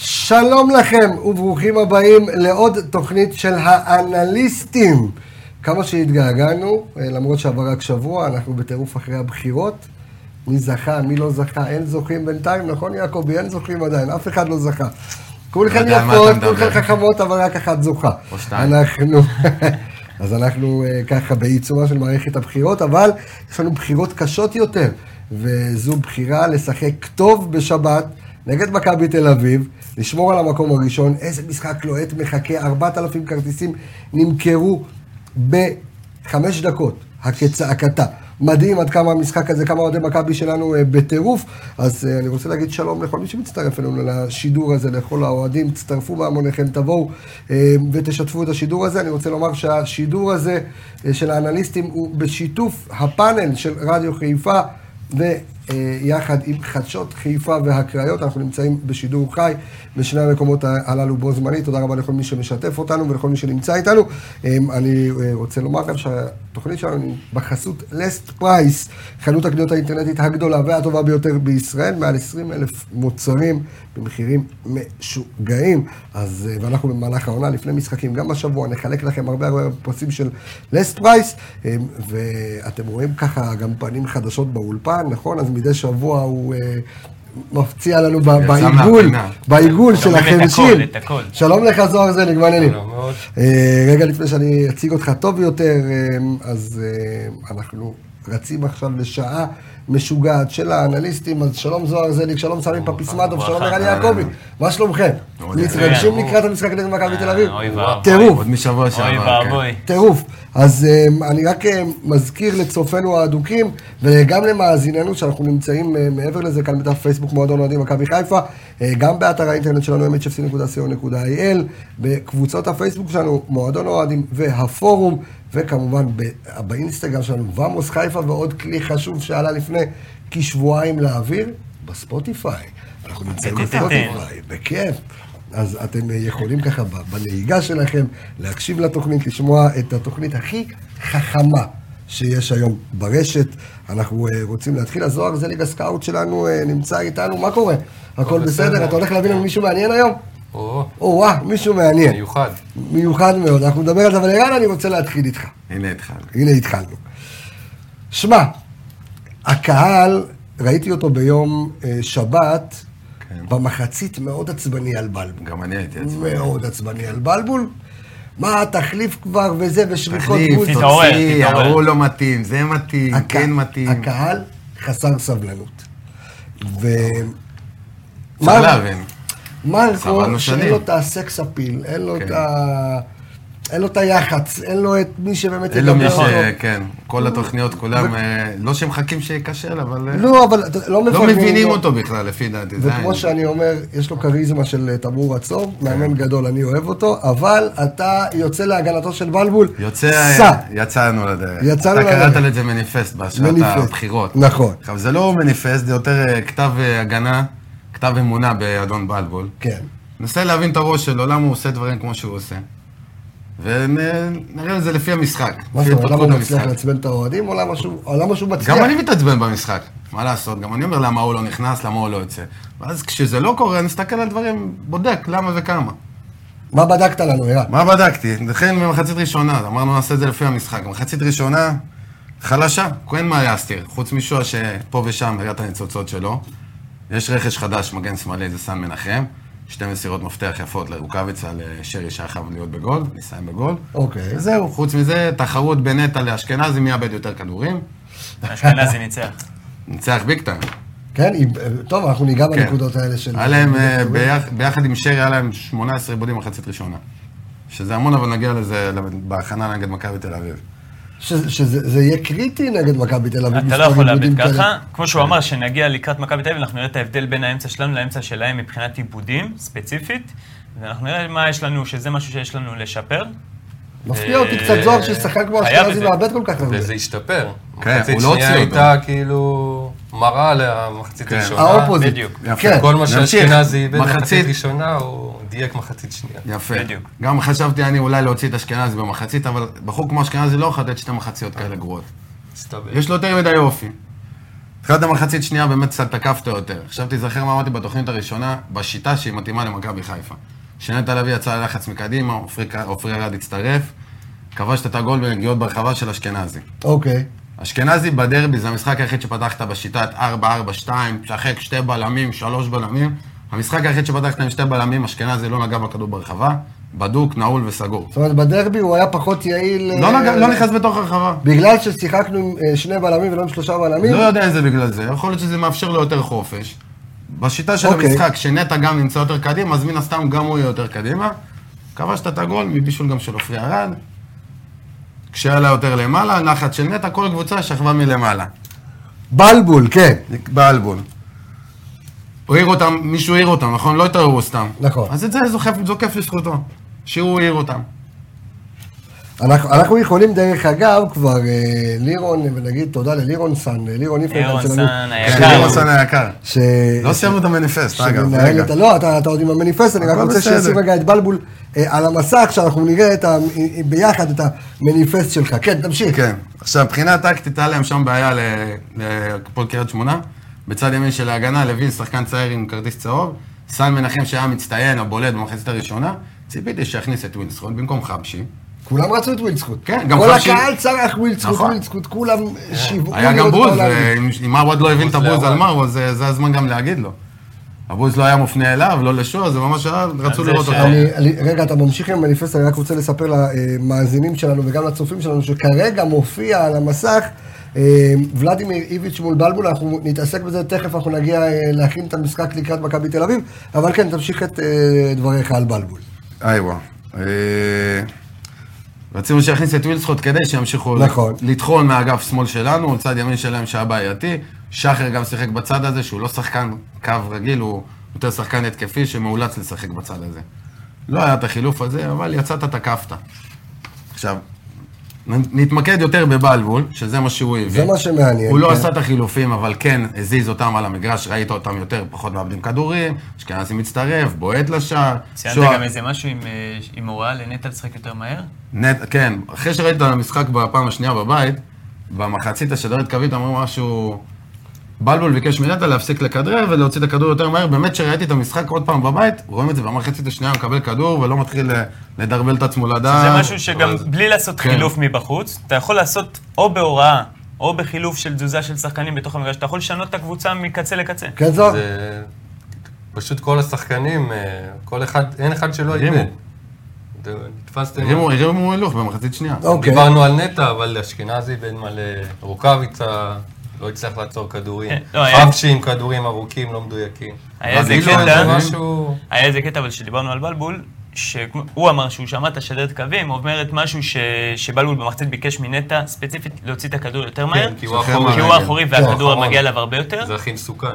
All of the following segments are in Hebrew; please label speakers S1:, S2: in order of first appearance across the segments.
S1: שלום לכם וברוכים הבאים לעוד תוכנית של האנליסטים. כמה שהתגעגענו, אה, למרות שעבר רק שבוע, אנחנו בטירוף אחרי הבחירות. מי זכה, מי לא זכה, אין זוכים בינתיים, נכון יעקבי? אין זוכים עדיין, אף אחד לא זכה. כולכם
S2: יודע על מה
S1: יפות,
S2: אתה מדבר.
S1: כולכם חכמות, אבל רק אחת זוכה.
S2: או שתיים.
S1: אנחנו... אז אנחנו אה, ככה בעיצומה של מערכת הבחירות, אבל יש לנו בחירות קשות יותר, וזו בחירה לשחק טוב בשבת נגד מכבי תל אביב, לשמור על המקום הראשון, איזה משחק לוהט מחכה, 4,000 כרטיסים נמכרו בחמש דקות, הכצעקתה. מדהים עד כמה המשחק הזה, כמה אוהדי מכבי שלנו אה, בטירוף. אז אה, אני רוצה להגיד שלום לכל מי שמצטרף אלינו לשידור הזה, לכל האוהדים. תצטרפו בהמוניכם, תבואו אה, ותשתפו את השידור הזה. אני רוצה לומר שהשידור הזה אה, של האנליסטים הוא בשיתוף הפאנל של רדיו חיפה. ויחד עם חדשות חיפה והקריות, אנחנו נמצאים בשידור חי בשני המקומות הללו בו זמנית. תודה רבה לכל מי שמשתף אותנו ולכל מי שנמצא איתנו. אמ, אני אה, רוצה לומר לכם שהתוכנית שלנו היא בחסות לסט פרייס, חנות הקניות האינטרנטית הגדולה והטובה ביותר בישראל, מעל 20 אלף מוצרים במחירים משוגעים. אז, אה, ואנחנו במהלך העונה, לפני משחקים, גם השבוע, נחלק לכם הרבה הרבה פרסים של לסט פרייס, אמ, ואתם רואים ככה גם פנים חדשות באולפן, נכון? אז מדי שבוע הוא... אה, מפציע לנו ב- בעיגול,
S2: מהפינה.
S1: בעיגול של
S3: שומעים את
S1: החרשים.
S3: הכל, את הכל.
S1: שלום לך זוהר זליג, מה העניינים?
S3: שלום מאוד.
S1: אה, רגע לפני שאני אציג אותך טוב יותר, אה, אז אה, אנחנו רצים עכשיו לשעה משוגעת של האנליסטים, אז שלום זוהר זליג, שלום סמי פפיסמדוב, שלום
S3: ברכה. אה,
S1: ערן יעקבי, מה שלומכם?
S2: מעולה.
S1: מתרגשים
S3: כן.
S1: לקראת המשחק נגד מכבי תל אביב?
S3: אה, אוי ואבוי.
S1: טירוף.
S2: עוד משבוע שעבר.
S3: אוי
S2: כן.
S3: ואבוי.
S1: טירוף. אז אמ, אני רק אמ, מזכיר לצופינו האדוקים, וגם למאזיננו שאנחנו נמצאים אמ, מעבר לזה, כאן בדף פייסבוק מועדון אוהדים מכבי חיפה, אה, גם באתר האינטרנט שלנו, mhfc.co.il, בקבוצות הפייסבוק שלנו, מועדון אוהדים והפורום, וכמובן ב- באינסטגרם שלנו, ועמוס חיפה, ועוד כלי חשוב שעלה לפני כשבועיים לאוויר, בספוטיפיי. אנחנו נמצאים
S3: טה-טה-טה.
S1: בספוטיפיי. וואי, בכיף. אז אתם אה, יכולים ככה ב- בנהיגה שלכם להקשיב לתוכנית, לשמוע את התוכנית הכי חכמה שיש היום ברשת. אנחנו אה, רוצים להתחיל. אז זוהר זליג הסקאוט שלנו אה, נמצא איתנו, מה קורה? הכל בסדר?
S4: בסדר.
S1: אתה הולך להביא לנו מישהו מעניין היום?
S4: או,
S1: או-אה, מישהו מעניין.
S4: מיוחד.
S1: מיוחד מאוד, אנחנו נדבר על זה, אבל ערן, אני רוצה להתחיל איתך.
S2: הנה התחלנו.
S1: הנה התחלנו. שמע, הקהל, ראיתי אותו ביום אה, שבת,
S2: כן.
S1: במחצית מאוד עצבני על בלבול.
S2: גם אני הייתי עצמי.
S1: מאוד עצבני על בלבול. מה, תחליף כבר וזה, ושריקות
S2: תחליף,
S1: בוז.
S3: תתעורר,
S2: תוציא,
S3: תתעורר.
S2: ההוא לא מתאים, זה מתאים,
S1: הק-
S2: כן מתאים.
S1: הקהל חסר סבלנות. ו...
S2: אפשר
S1: מר-
S2: להבין.
S1: מרקו,
S2: סבלנו
S1: שאין
S2: שנים.
S1: לו את הסקס אפיל, אין לו את
S2: כן.
S1: ה... אין לו את היח"צ, אין לו את מי שבאמת נכון.
S2: אין לו מי ש...
S1: אותו.
S2: כן, כל התוכניות כולם, אה, לא שמחכים שייכשל, אבל אה,
S1: לא, אבל אתה- לא
S2: לא
S1: מפרגנים
S2: מבינים
S1: לו.
S2: אותו בכלל, לפי דעתי. זה
S1: וכמו
S2: העניין.
S1: שאני אומר, יש לו כריזמה של אה, תמרור עצור,
S2: כן.
S1: מאמן גדול, אני אוהב אותו, אבל אתה יוצא להגנתו של בלבול,
S2: יוצא, אה,
S1: סע.
S2: יצאנו לדרך.
S1: יצאנו
S2: אתה
S1: לדרך.
S2: קראת לזה מניפסט בהשעת
S1: מניפסט.
S2: הבחירות.
S1: נכון.
S2: עכשיו, זה לא מניפסט, זה יותר אה, כתב אה, הגנה, כתב אמונה באדון בלבול.
S1: כן.
S2: ננסה להבין את הראש שלו, למה הוא עושה דברים כמו שהוא עושה. ונראה את זה לפי המשחק.
S1: מה
S2: לפי
S1: זאת אומרת, למה
S2: התפתחות
S1: הוא מצליח
S2: המשחק.
S1: לעצבן את האוהדים, או למה שהוא- או למה שהוא מצליח?
S2: גם אני מתעצבן במשחק, מה לעשות? גם אני אומר למה הוא לא נכנס, למה הוא לא יוצא. ואז כשזה לא קורה, אני מסתכל על דברים, בודק למה וכמה.
S1: מה בדקת לנו, ערן?
S2: מה בדקתי? לכן במחצית ראשונה, אמרנו נעשה את זה לפי המשחק. במחצית ראשונה, חלשה, אין מה להסתיר. חוץ משוע שפה ושם הראה את הניצוצות שלו. יש רכש חדש, מגן שמאלי, זה סן מנחם. שתי מסירות מפתח יפות לרוקאביצה, לשרי שהיה חייב להיות בגול, נסיים בגול.
S1: אוקיי.
S2: וזהו, חוץ מזה, תחרות בין נטע לאשכנזי, מי יאבד יותר כדורים?
S3: אשכנזי ניצח.
S2: ניצח ביג טיים.
S1: כן, עם- טוב, אנחנו ניגע
S2: כן.
S1: בנקודות האלה של...
S2: היה להם, אה, ביח- ביחד עם שרי, היה להם 18 עיבודים במחצית ראשונה. שזה המון, אבל נגיע לזה בהכנה נגד מכבי תל אביב.
S1: ש- שזה זה יהיה קריטי נגד מכבי תל אביב.
S3: אתה
S1: מספר
S3: לא יכול
S1: עיבודים
S3: לאבד
S1: כאלה.
S3: ככה. כמו שהוא אמר, שנגיע לקראת מכבי תל אביב, אנחנו נראה את ההבדל בין האמצע שלנו לאמצע שלהם מבחינת עיבודים, ספציפית, ואנחנו נראה מה יש לנו, שזה משהו שיש לנו לשפר.
S2: כן,
S1: מפתיע
S3: אה,
S1: אותי קצת זוהר ששחקן כמו
S3: חייב את
S1: אשכנזי
S3: זה.
S1: מאבד כל כך הרבה.
S4: וזה השתפר.
S2: כן, הוא
S4: מחצית
S2: לא
S4: שנייה
S2: הוציא אותו.
S4: הייתה כאילו מראה למחצית
S2: כן.
S4: ראשונה.
S1: האופוזיט.
S3: בדיוק.
S2: יפה.
S1: כן.
S4: כל מה
S2: נמשיך.
S4: שאשכנזי איבד
S2: מחצית.
S4: מחצית ראשונה, הוא דייק מחצית שנייה.
S2: יפה.
S3: בדיוק.
S2: גם חשבתי אני אולי להוציא את אשכנזי במחצית, אבל בחור כמו אשכנזי לא יכול לתת שתי מחציות כאלה גרועות.
S4: הסתבר.
S2: יש לו יותר מדי אופי. תחילת המחצית שנייה באמת קצת תקפת יותר. עכשיו תיזכר מה אמרתי בתוכנית הראשונה, בשיטה שהיא מתאימה למכבי חיפה. שנטע לוי יצא ללחץ מקדימה, עופרי ק- עופרי ארד הצטרף, כבשת את הגול בנגיעות ברחבה של אשכנזי.
S1: אוקיי.
S2: אשכנזי בדרבי זה המשחק היחיד שפתחת בשיטת 4-4-2, תשחק שתי בלמים, שלוש בלמים. המשחק היחיד שפתחת עם שתי בלמים, אשכנזי לא נגע בכדור ברחבה, בדוק, נעול וסגור.
S1: זאת אומרת, בדרבי הוא היה פחות יעיל...
S2: לא,
S1: אה,
S2: נגע, לא נכנס בתוך הרחבה.
S1: בגלל ששיחקנו עם אה, שני בלמים ולא עם שלושה בלמים?
S2: לא יודע אם זה בגלל זה, יכול להיות שזה מאפשר לו יותר חופש. בשיטה של
S1: אוקיי.
S2: המשחק, שנטע גם נמצא יותר קדימה, אז מן הסתם גם הוא יהיה יותר קדימה. כבשת את הגול מבישול גם של עופרי ארד. כשעלה יותר למעלה, נחת של נטע, כל קבוצה שכבה מלמעלה.
S1: בלבול, כן.
S2: באלבון. הוא העיר אותם, מישהו העיר אותם, נכון? לא התעוררו סתם.
S1: נכון.
S2: אז את זה זוקף, זוקף לזכותו, שהוא העיר אותם.
S1: אנחנו, אנחנו יכולים, דרך אגב, כבר אה, לירון, ונגיד תודה ללירון סאן, אה, לירון איפרגן
S3: אירון
S1: שלנו.
S3: סן
S2: כן,
S3: היקר.
S2: לירון סאן היקר.
S1: ש...
S2: לא סיימנו את המניפסט, אגב.
S1: שמנהל
S2: רגע.
S1: את ה... לא, אתה, אתה עוד עם המניפסט, אני רק
S2: הכל
S1: רוצה
S2: בסדר.
S1: שישים רגע את בלבול אה, על המסך, שאנחנו נראה את ה... אה, ביחד את המניפסט שלך. כן, תמשיך.
S2: כן. עכשיו, מבחינה טקטית, היה להם שם בעיה ל- להפועל קריית שמונה. בצד ימין של ההגנה, לוין, שחקן צעיר עם כרטיס צהוב. סאן מנחם שהיה המצטיין, הבולט במחצית הראשונה. ציפיתי שיכניס את ווינסקוט במקום חבשי.
S1: כולם רצו את ווילדסקוט.
S2: כן, גם
S1: כל
S2: חשי-
S1: הקהל צרח ווילדסקוט,
S2: נכון.
S1: ווילדסקוט, כולם שיוו...
S2: היה גם בוז,
S1: בעולם.
S2: ואם- אם עווד לא הבין את
S4: בוז
S2: הבוז על
S4: לעווד.
S2: מרו, אז אה, זה הזמן גם להגיד לו. הבוז לא היה מופנה אליו, לא לשועה, זה ממש היה, רצו
S3: זה
S2: לראות
S3: ש-
S2: אותו.
S1: אני, אני, רגע, אתה ממשיך עם המניפסט, אני רק רוצה לספר למאזינים שלנו וגם לצופים שלנו, שכרגע מופיע על המסך אה, ולדימיר איביץ' מול בלבול, אנחנו נתעסק בזה תכף, אנחנו נגיע אה, להכין את המשחק לקראת מכבי תל אביב, אבל כן, תמשיך את אה, דבריך על בלבול.
S2: איי וואו. אה, רצינו שיכניס את ווילסקוט כדי שימשיכו
S1: נכון.
S2: לטחון מהאגף שמאל שלנו, צד ימין שלהם שהיה בעייתי. שחר גם שיחק בצד הזה, שהוא לא שחקן קו רגיל, הוא יותר שחקן התקפי שמאולץ לשחק בצד הזה. לא היה את החילוף הזה, אבל יצאת, תקפת. עכשיו, נ- נתמקד יותר בבלבול, שזה מה שהוא הביא.
S1: זה מה שמעניין.
S2: הוא לא
S1: כן.
S2: עשה את החילופים, אבל כן הזיז אותם על המגרש, ראית אותם יותר, פחות מאבדים כדורים, אשכנזי מצטרף, בועט לשער.
S3: ציינת
S2: שועה-
S3: גם איזה משהו עם, אה, עם הוראה לנטע לשחק יותר מהר?
S2: נט, כן, אחרי שראית את המשחק בפעם השנייה בבית, במחצית השדרית קווית אמרו משהו... בלבול ביקש מנטע להפסיק לכדרר ולהוציא את הכדור יותר מהר. באמת שראיתי את המשחק עוד פעם בבית, רואים את זה במחצית השנייה, הוא מקבל כדור ולא מתחיל ל- לדרבל את עצמו לדעת.
S3: זה משהו שגם בלי לעשות
S2: אה, כן.
S3: חילוף מבחוץ, אתה יכול לעשות או בהוראה, או בחילוף של תזוזה של שחקנים בתוך המגרש, אתה יכול לשנות את הקבוצה מקצה לקצה.
S1: כן, זו?
S4: זה פשוט כל השחקנים, אה, כל אחד, אין אחד שלא
S2: הרימו.
S4: איבד. זה- נתפסתם.
S2: הרימו הרימו הילוך במחצית שנייה.
S1: אוקיי.
S4: דיברנו על נטע, אבל אשכנזי בין מלא רוקאביצה, לא הצליח לעצור כדורים.
S3: לא, היה-
S4: חבשי עם כדורים ארוכים, לא מדויקים.
S3: היה איזה
S2: רגיל
S4: זה
S3: קטע,
S2: לעזור.
S4: משהו...
S3: היה איזה קטע אבל שדיברנו על בלבול, שהוא אמר שהוא שמע את השדרת קווים, אומרת משהו ש- שבלבול במחצית ביקש מנטע ספציפית להוציא את הכדור יותר מהר,
S4: כן, כי הוא
S2: שחרר
S4: אחורה.
S3: כי
S2: מהרגל.
S3: הוא האחורי והכדור
S4: האחרון.
S3: מגיע אליו הרבה יותר,
S4: זה הכי מסוכן.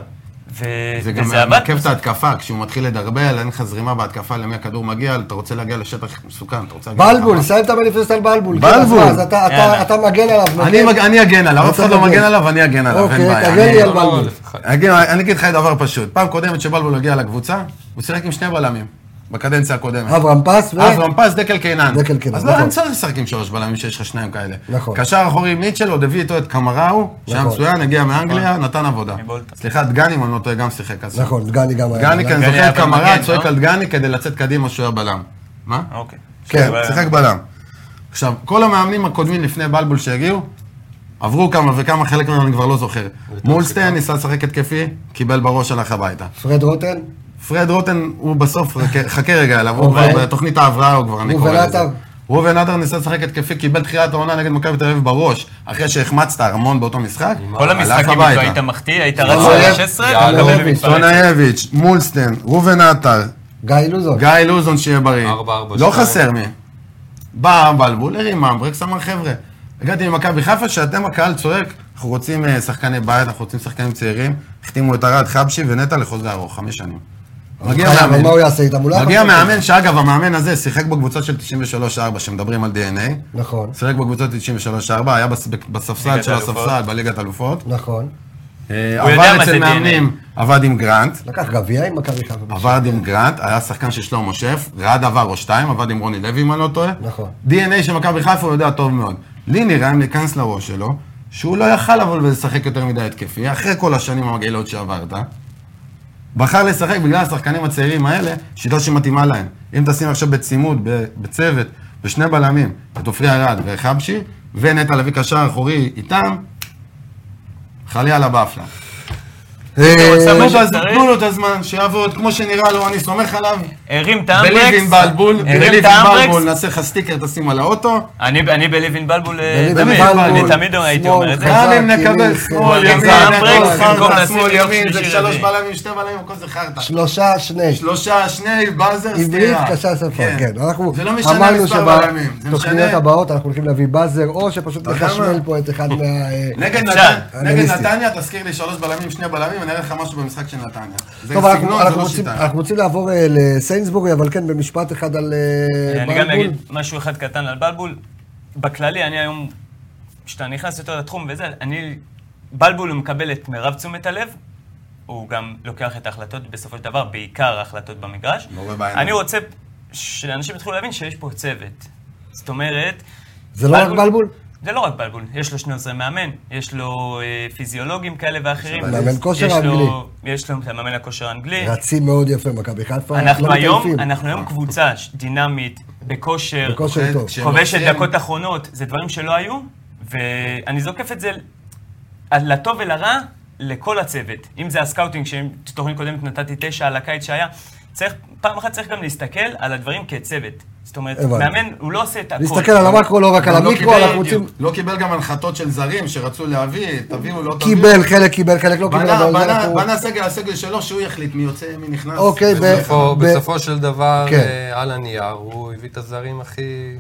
S3: ו-
S2: זה גם
S3: וזה עבד.
S2: מעכב את ההתקפה, כשהוא מתחיל לדרבל, אין לך זרימה בהתקפה למי הכדור מגיע, אתה רוצה להגיע לשטח מסוכן, אתה רוצה להגיע...
S1: בלבול,
S2: לחמה.
S1: סיים את המניפסט על בלבול. כן,
S2: בלבול. אה,
S1: אז מה, אז אתה- אתה-
S3: יאללה.
S1: אתה מגן עליו.
S2: אני
S1: מגן.
S2: מג- אני אגן עליו, אף
S1: אתה
S2: אחד לא
S1: מגן.
S2: מגן עליו, אני אגן עליו, אין
S1: אוקיי,
S2: בעיה.
S1: תגן
S2: אני-
S1: לי על
S4: לא, לא,
S1: בלבול.
S4: אלף אחד.
S2: אני אגיד, אני אגיד לך דבר פשוט. פעם קודמת שבלבול הגיע לקבוצה, הוא שיחק עם שני בלמים, בקדנציה הקודמת.
S1: אברהם פס ו...
S2: אברהם פס, דקל קינן.
S1: דקל קינן,
S2: אז
S1: נכון.
S2: לא, אין צורך לשחק עם שלוש בלמים שיש לך שניים כאלה.
S1: נכון.
S2: קשר אחורי עם מיטשל, עוד הביא איתו את קמראו, שהיה
S1: נכון.
S2: מצוין, הגיע מאנגליה, נתן עבודה.
S3: מבולטה.
S2: סליחה, דגני, אם אני לא טועה, גם שיחק אז.
S1: נכון, דגני גם היה.
S2: דגני, כי אני
S3: דגני
S2: זוכר
S3: היה
S2: את קמרה
S3: במגן,
S2: צועק
S3: לא?
S2: על דגני כדי לצאת קדימה שהוא היה בלם. מה?
S3: אוקיי.
S1: כן,
S3: שזה-
S2: שיחק בלם. עכשיו, כל המאמנים הקודמים לפני בלבול שהגיעו, עברו כמה וכמה, חלק מהם אני כבר לא זוכר. מולסטיין ניסה לשחק התקפי, קיבל בראש, הלך הביתה.
S1: פרד רוטן,
S2: פרד רוטן הוא בסוף, חכה- חכה רגע אליו, הוא
S1: אוקיי.
S2: כבר בתוכנית ההבראה, הוא כבר, אני
S1: ראובן
S2: קורא לזה.
S1: עטר.
S2: ראובן עטר ניסה לשחק התקפי, קיבל תחילת העונה נגד מכבי תל אביב בראש, אחרי שהחמצת המון באותו משחק,
S3: כל
S2: אה, הלך
S3: המשחק, אם
S2: הביתה.
S3: אתה היית מחטיא, היית
S2: לא,
S3: רץ
S2: לא,
S3: ל-16,
S4: יאללה,
S3: ומקבל
S1: לא,
S3: ומתפרץ.
S2: סטונאייביץ', מולסטיין, ראובן עטר,
S1: גיא לוזון.
S2: גיא לוזון שיהיה בריא.
S4: ארבע, ארבע,
S2: לא
S4: שתיים.
S2: חסר מי. בא בלבול, הרים אמברקס, אמר חבר'ה, הגעתי ממכבי חיפה, שאתם הקהל צועק, אנחנו רוצים אה, שחקני בית, אנחנו רוצים שחקנים צעירים, החתימו את ארד חבשי ונטע לחוזה ארוך, חמש שנים. מגיע
S1: חייב,
S2: מאמן.
S1: אבל מה הוא יעשה איתם? הוא לא
S2: מגיע
S1: יכול-
S2: מאמן, שאגב, המאמן הזה שיחק בקבוצה של 93-4, שמדברים על DNA.
S1: נכון,
S2: שיחק בקבוצה של 93-4, היה בס- בספסל
S3: ליגת
S2: של
S3: האלופות.
S2: הספסל, בליגת אלופות.
S1: נכון.
S2: אה,
S3: הוא יודע
S2: עבר
S3: מה זה
S2: אצל
S3: DNA.
S2: מאמנים, עבד עם גרנט.
S1: לקח גביע עם מכבי חיפה.
S2: עבד עם גרנט, היה שחקן של שלמה שף, רד עבר או שתיים, עבד עם רוני לוי, אם אני לא טועה.
S1: נכון.
S2: DNA של מכבי חיפה הוא יודע טוב מאוד. לי נראה, אם ניכנס לראש שלו, שהוא לא יכל אבל לשחק יותר מדי התקפי, אחרי כל השנים המגעילות שעברת, בחר לשחק בגלל השחקנים הצעירים האלה, שיטה שמתאימה להם. אם תשים עכשיו בצימוד, ב- בצוות, בשני בלמים, את עופרי ארד וחבשי, ונטע לביא קשר אחורי איתם, חליה לבאפלה.
S3: רוצה
S2: אה, תנו לו
S3: מה
S2: את
S3: שצריך.
S2: הז- תנו לו את הזמן, שיעבוד כמו שנראה לו, אני סומך עליו.
S3: הרים את
S2: בליב עם
S3: האמברקס,
S2: בלבול,
S3: הרים
S2: בליב
S3: את
S2: עם בלבול,
S3: האמברקס,
S2: נעשה לך סטיקר, תשים על האוטו.
S3: אני אני בליב אין בלבול, אה,
S1: בליב אין
S3: תמיד,
S1: בלבול,
S3: אני תמיד הייתי אומר את זה,
S1: שמאל,
S2: גם אם
S1: חזק,
S2: נקבל
S1: ימין,
S2: שמאל,
S1: שמאל,
S2: ימין,
S3: גם ברקס, במקום
S2: שמאל,
S3: לשים
S2: שמאל,
S3: יום
S2: ימין, זה
S3: שלישי,
S2: שלוש
S3: רביעי.
S2: בלמים, שתי בלמים, הכל זה חרטא.
S1: שלושה, שני.
S2: שלושה, שני, באזר,
S1: עברית
S2: סטירה.
S1: קשה ספר, כן. אנחנו
S2: זה לא משנה
S1: אמרנו
S2: מספר בלמים, זה
S1: שבתוכניות
S2: משנה.
S1: הבאות אנחנו הולכים להביא באזר, או שפשוט
S2: אתה יודע
S1: נחשמל
S2: מה?
S1: פה את אחד מה... אה,
S2: נגד
S3: אפשר.
S2: נתניה- נגד
S1: אנליסטים.
S2: נתניה, תזכיר לי שלוש בלמים, שני בלמים, אני אראה לך משהו במשחק של נתניה. זה
S1: טוב, אנחנו-
S2: סגנון, זה
S1: אנחנו
S2: לא
S1: רוצים-
S2: שיטה.
S1: אנחנו רוצים לעבור אה, לסיינסבורי, אבל כן, במשפט אחד על אה,
S3: אני גם
S1: בלבול.
S3: אגיד משהו אחד קטן על בלבול. בכללי, אני היום, כשאתה נכנס יותר לתחום וזה, אני... בלבול הוא מקבל את מירב תשומת הלב, הוא גם לוקח את ההחלטות בסופו של דבר, בעיקר ההחלטות במגרש.
S2: לא בבעיה.
S3: אני רוצה שאנשים יתחילו להבין שיש פה צוות. זאת אומרת...
S1: זה לא רק בלבול?
S3: זה לא רק בלבול, יש לו שני עוזרי מאמן, יש לו אה, פיזיולוגים כאלה ואחרים.
S1: מאמן כושר
S3: יש לו-
S1: האנגלי.
S3: יש לו את המאמן הכושר האנגלי.
S1: רצים מאוד יפה, מכבי חיפה.
S3: כן. אנחנו
S1: לא
S3: היום,
S1: מטייפים.
S3: אנחנו היום קבוצה ש- דינמית, בכושר,
S1: בכושר טוב.
S2: כש-
S3: כובשת
S2: שהם-
S3: דקות אחרונות, זה דברים שלא היו, ואני זוקף את זה על- לטוב ולרע לכל הצוות. אם זה הסקאוטינג, שתוכנית קודמת נתתי תשע על הקיץ שהיה, צריך, פעם אחת צריך גם להסתכל על הדברים כצוות. זאת אומרת,
S1: הבנתי.
S3: מאמן, הוא לא עושה את הכל.
S1: להסתכל על המקרו, לא רק על
S2: לא
S1: המיקרו,
S2: קיבל-
S1: אנחנו רוצים...
S2: לא קיבל גם הנחתות של זרים שרצו להביא, תביאו, לא תביאו.
S1: קיבל חלק, קיבל חלק, לא קיבל,
S2: בנה,
S1: אבל זה
S2: בנה,
S1: אנחנו...
S2: בנה סגל, הסגל שלו, שהוא יחליט מי יוצא, מי נכנס.
S1: אוקיי, ב-
S4: בסופו,
S1: ב-
S4: בסופו של דבר,
S1: כן.
S4: אה, על הנייר, הוא הביא את הזרים הכי,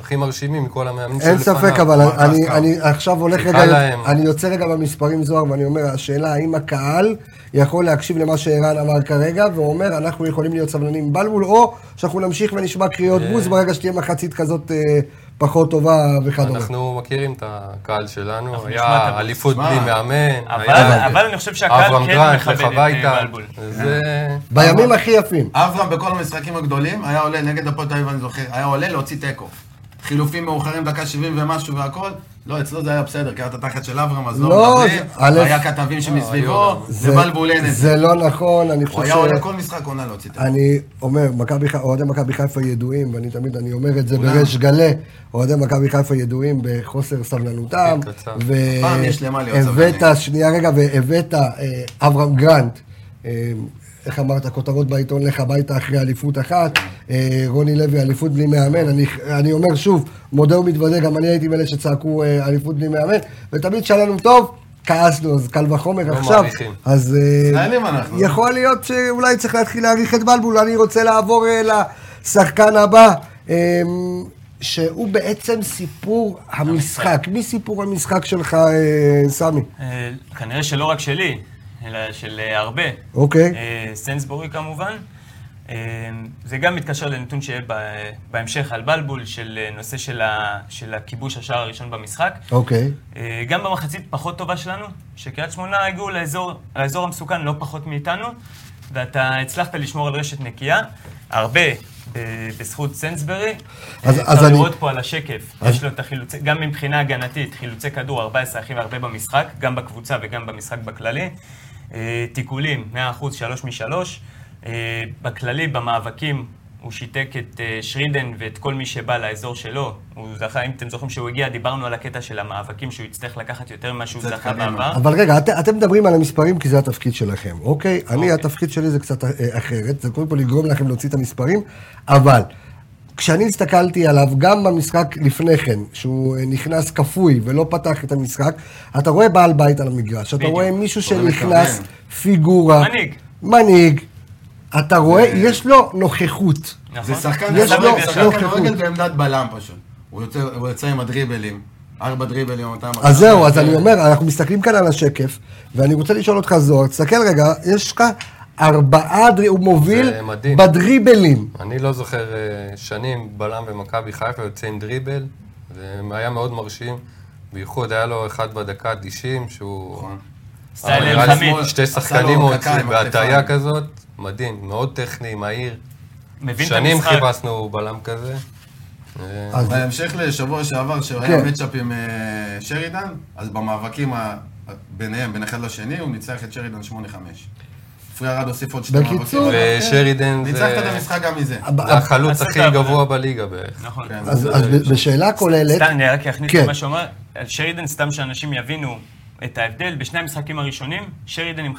S4: הכי מרשימים מכל המאמנים
S1: אין
S4: שלפניו.
S1: ספק, אבל
S2: מה,
S1: אני,
S2: מה,
S1: אני עכשיו הולך
S4: חיכה
S1: רגע,
S4: להם.
S1: אני יוצא רגע במספרים זוהר ואני אומר, השאלה האם הקהל יכול להקשיב למה שערן אמר כרגע, ואומר, אנחנו יכולים להיות סבלנים עם בלבול, או שאנחנו נמשיך ונשמע קריאות בוז ברגע שתהיה מחצית כזאת אה, פחות טובה וכדומה.
S4: אנחנו מכירים את הקהל שלנו,
S3: נשמע את
S4: היה
S3: הבוס.
S4: אליפות
S2: מה?
S4: בלי מאמן,
S3: אבל,
S4: היה
S3: אבל אני חושב שהקהל
S4: אברהם
S3: כן
S4: דרייך, לך
S3: מכבד את
S4: הביתה,
S3: אה, בלבול.
S4: זה...
S1: בימים הכי יפים.
S2: אברהם בכל המשחקים הגדולים היה עולה נגד הפועל תל אביב, אני זוכר, היה עולה להוציא תיקו. חילופים מאוחרים, דקה 70 ומשהו והכל. לא, אצלו זה היה בסדר, כי היה את התחת של אברהם, אז לא
S1: לא,
S2: מדברים.
S1: זה- א', לא,
S2: היה כתבים שמסביבו, זה בלבולנת.
S1: זה לא נכון, אני חושב
S2: הוא היה עולה כל משחק עונה להוציא תיקו.
S1: אני אומר, מכבי חיפה- אוהדי מכבי חיפה ידועים, ואני תמיד, אני אומר את זה בריש גלי, אוהדי מכבי חיפה ידועים בחוסר סבלנותם.
S4: כן, קצר.
S1: ו-
S2: הפעם יש למה להיות סבלני.
S1: הבאת, שנייה רגע, והבאת אה, אברהם גרנט, אה, איך אמרת, כותרות בעיתון לך הביתה אחרי אליפות
S2: כן.
S1: אחת, אה, רוני לוי, אליפות בלי מאמן, אני- אני אומר שוב, מודה ומתוודה, גם אני הייתי מאלה שצעקו אה, אליפות בלי מאמן, ותמיד שאלנו טוב. כעסנו, אז קל
S2: לא
S1: וחומר עכשיו,
S4: מעריכים.
S1: אז אה,
S2: ישראלים אנחנו.
S1: יכול להיות שאולי צריך להתחיל להעריך את בלבול, אני רוצה לעבור אה, לשחקן הבא, אה, שהוא בעצם סיפור המשחק. מי סיפור המשחק שלך, אה, סמי?
S3: אה, כנראה שלא רק שלי, אלא של אה, הרבה.
S1: אוקיי.
S3: אה, סנסבורי כמובן. אה, זה גם מתקשר לנתון שיהיה ב- בהמשך על בלבול, של אה, נושא של ה- של הכיבוש השער הראשון במשחק.
S1: אוקיי.
S3: אה, גם במחצית פחות טובה שלנו, שקריית שמונה הגיעו לאזור, לאזור המסוכן לא פחות מאיתנו, ואתה הצלחת לשמור על רשת נקייה, הרבה ב- בזכות סנסברי.
S1: אז-
S3: אז,
S1: אז
S3: אפשר
S1: אני-
S3: לראות פה על השקף, יש לו את החילוצי, גם מבחינה הגנתית, חילוצי כדור 14 הכי הרבה במשחק, גם בקבוצה וגם במשחק בכללי. אה, תיקולים, 100%, 3 מ-3. אה, בכללי, במאבקים, הוא שיתק את אה, שרידן ואת כל מי שבא לאזור שלו. הוא זכה, אם אתם זוכרים שהוא הגיע, דיברנו על הקטע של המאבקים, שהוא יצטרך לקחת יותר ממה שהוא
S2: קצת
S3: זכה
S2: קדימה.
S3: בעבר.
S1: אבל רגע, את, אתם מדברים על המספרים כי זה התפקיד שלכם, אוקיי? אני, התפקיד שלי זה קצת אה, אחרת, זה קודם כל לגרום לכם להוציא את המספרים, אבל כשאני הסתכלתי עליו, גם במשחק לפני כן, שהוא אה, נכנס כפוי ולא פתח את המשחק, אתה רואה בעל בית על המגרש, אתה
S3: בדיוק.
S1: רואה מישהו
S2: רואה
S1: שנכנס,
S2: מכוון.
S1: פיגורה.
S3: מנהיג. אה.
S1: מנהיג. אתה רואה, יש לו נוכחות.
S3: נכון?
S2: זה שחקן
S1: יש
S2: כדורגל,
S1: לו-
S2: שחקן
S1: לא
S2: כדורגל
S1: חיקוי.
S2: בעמדת בלם פשוט. הוא יוצא- הוא יוצא עם הדריבלים, ארבע דריבלים, אותם...
S1: אז זהו,
S2: כן.
S1: אז אני אומר, אנחנו מסתכלים כאן על השקף, ואני רוצה לשאול אותך, זוהר, תסתכל רגע, יש לך ארבעה, דרי- הוא מוביל
S4: זה מדהים.
S1: בדריבלים.
S4: אני לא זוכר אה, שנים בלם במכבי חיפה יוצא עם דריבל, זה היה מאוד מרשים, בייחוד היה לו אחד בדקה ה-90, שהוא...
S3: נכון. סטייל
S4: אבל נראה לי
S3: אלחמיד.
S4: שמאל, שתי
S2: עשה לו
S4: שחקנים
S2: הורקה
S4: הוציאו
S2: עם
S4: בהטעיה
S2: הכתפיים.
S4: כזאת, מדהים, מאוד טכני, מהיר.
S3: מבין את
S4: שנים
S3: המשחק.
S4: חיפשנו בלם כזה.
S1: אז-
S2: בהמשך לשבוע שעבר, שהיה
S1: כן.
S2: מצ'אפ עם אה, שרידן, אז במאבקים ה- ביניהם, בין אחד לשני, הוא ניצח את שרידן 8-5. פרי ארד הוסיף עוד שתי מאבקים.
S1: בקיצור,
S4: ושרידן
S2: ניצחת את
S4: זה
S2: המשחק גם מזה.
S1: הב-
S4: זה החלוץ
S3: עשית
S4: הכי
S3: עבודה.
S4: גבוה בליגה בערך.
S3: נכון.
S2: כן.
S1: אז אז ב- בשאלה כוללת,
S3: סתם, אני רק אכניס
S1: כן.
S3: את מה שאומר, שרידן, סתם שאנשים יבינו את ההבדל, בשני המשחקים הראשונים, שרידן עם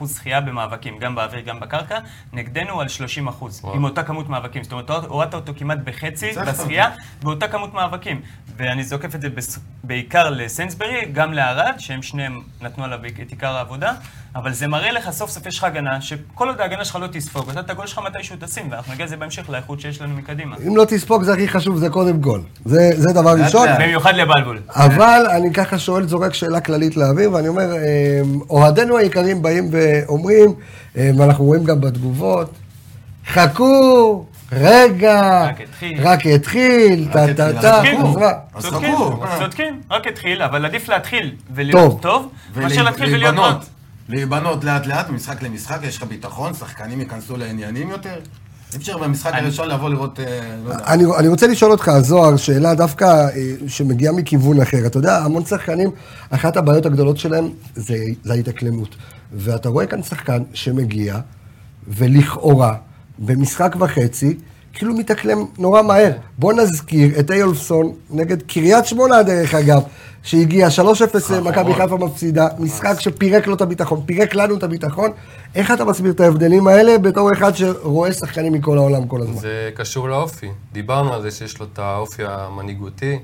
S3: 50% זכייה במאבקים, גם באוויר, גם בקרקע, נגדנו על 30%, עם אותה כמות מאבקים. זאת אומרת, הורדת אותו כמעט בחצי
S2: ניצחת
S3: בזכייה, באותה כמות מאבקים. ואני זוקף את זה בס- בעיקר לסיינסברי, גם לארד, שהם שניהם נתנו עליו את עיקר העבודה, אבל זה מראה לך, סוף סוף יש לך הגנה, שכל עוד ההגנה שלך לא תספוג, אתה את הגול שלך מתישהו תשים, ואנחנו נגיע לזה בהמשך, לאיכות שיש לנו מקדימה.
S1: אם לא תספוג זה הכי חשוב, זה קודם כל. זה זה דבר
S2: לאט
S1: ראשון.
S2: לאט.
S3: במיוחד לבלבול.
S1: אבל אני ככה שואל, זורק שאלה כללית לאוויר, ואני אומר, אה, אוהדינו היקרים באים ואומרים, אה, ואנחנו רואים גם בתגובות, חכו, רגע,
S3: רק התחיל."
S1: רק התחיל, טה
S2: התחיל,
S1: טה
S2: אז
S1: טה,
S3: התחיל.
S1: אז מה?
S2: אז
S3: צודקים,
S2: חכו, אה.
S3: צודקים, רק התחיל, אבל עדיף להתחיל ולהיות
S1: טוב.
S3: טוב, מאשר
S2: ולה-
S3: להתחיל ולהיות
S2: להיבנות.
S3: רע.
S2: להיבנות לאט לאט, ממשחק למשחק, יש לך ביטחון, שחקנים ייכנסו לעניינים יותר. אי אפשר במשחק
S3: אני-
S2: הראשון לבוא לראות, אה, לא יודע.
S1: אני, אני רוצה לשאול אותך, זוהר, שאלה דווקא אה, שמגיעה מכיוון אחר. אתה יודע, המון שחקנים, אחת הבעיות הגדולות שלהם זה, זה ההתאקלמות. ואתה רואה כאן שחקן שמגיע, ולכאורה, במשחק וחצי, כאילו מתאקלם נורא מהר. בוא נזכיר את איולפסון נגד קריית שמונה, דרך אגב, שהגיע 3-0 למכבי חיפה מפסידה, משחק שפירק לו את הביטחון, פירק לנו את הביטחון. איך אתה מסביר את ההבדלים האלה בתור אחד שרואה שחקנים מכל העולם כל הזמן?
S4: זה קשור לאופי. דיברנו על זה שיש לו את האופי המנהיגותי.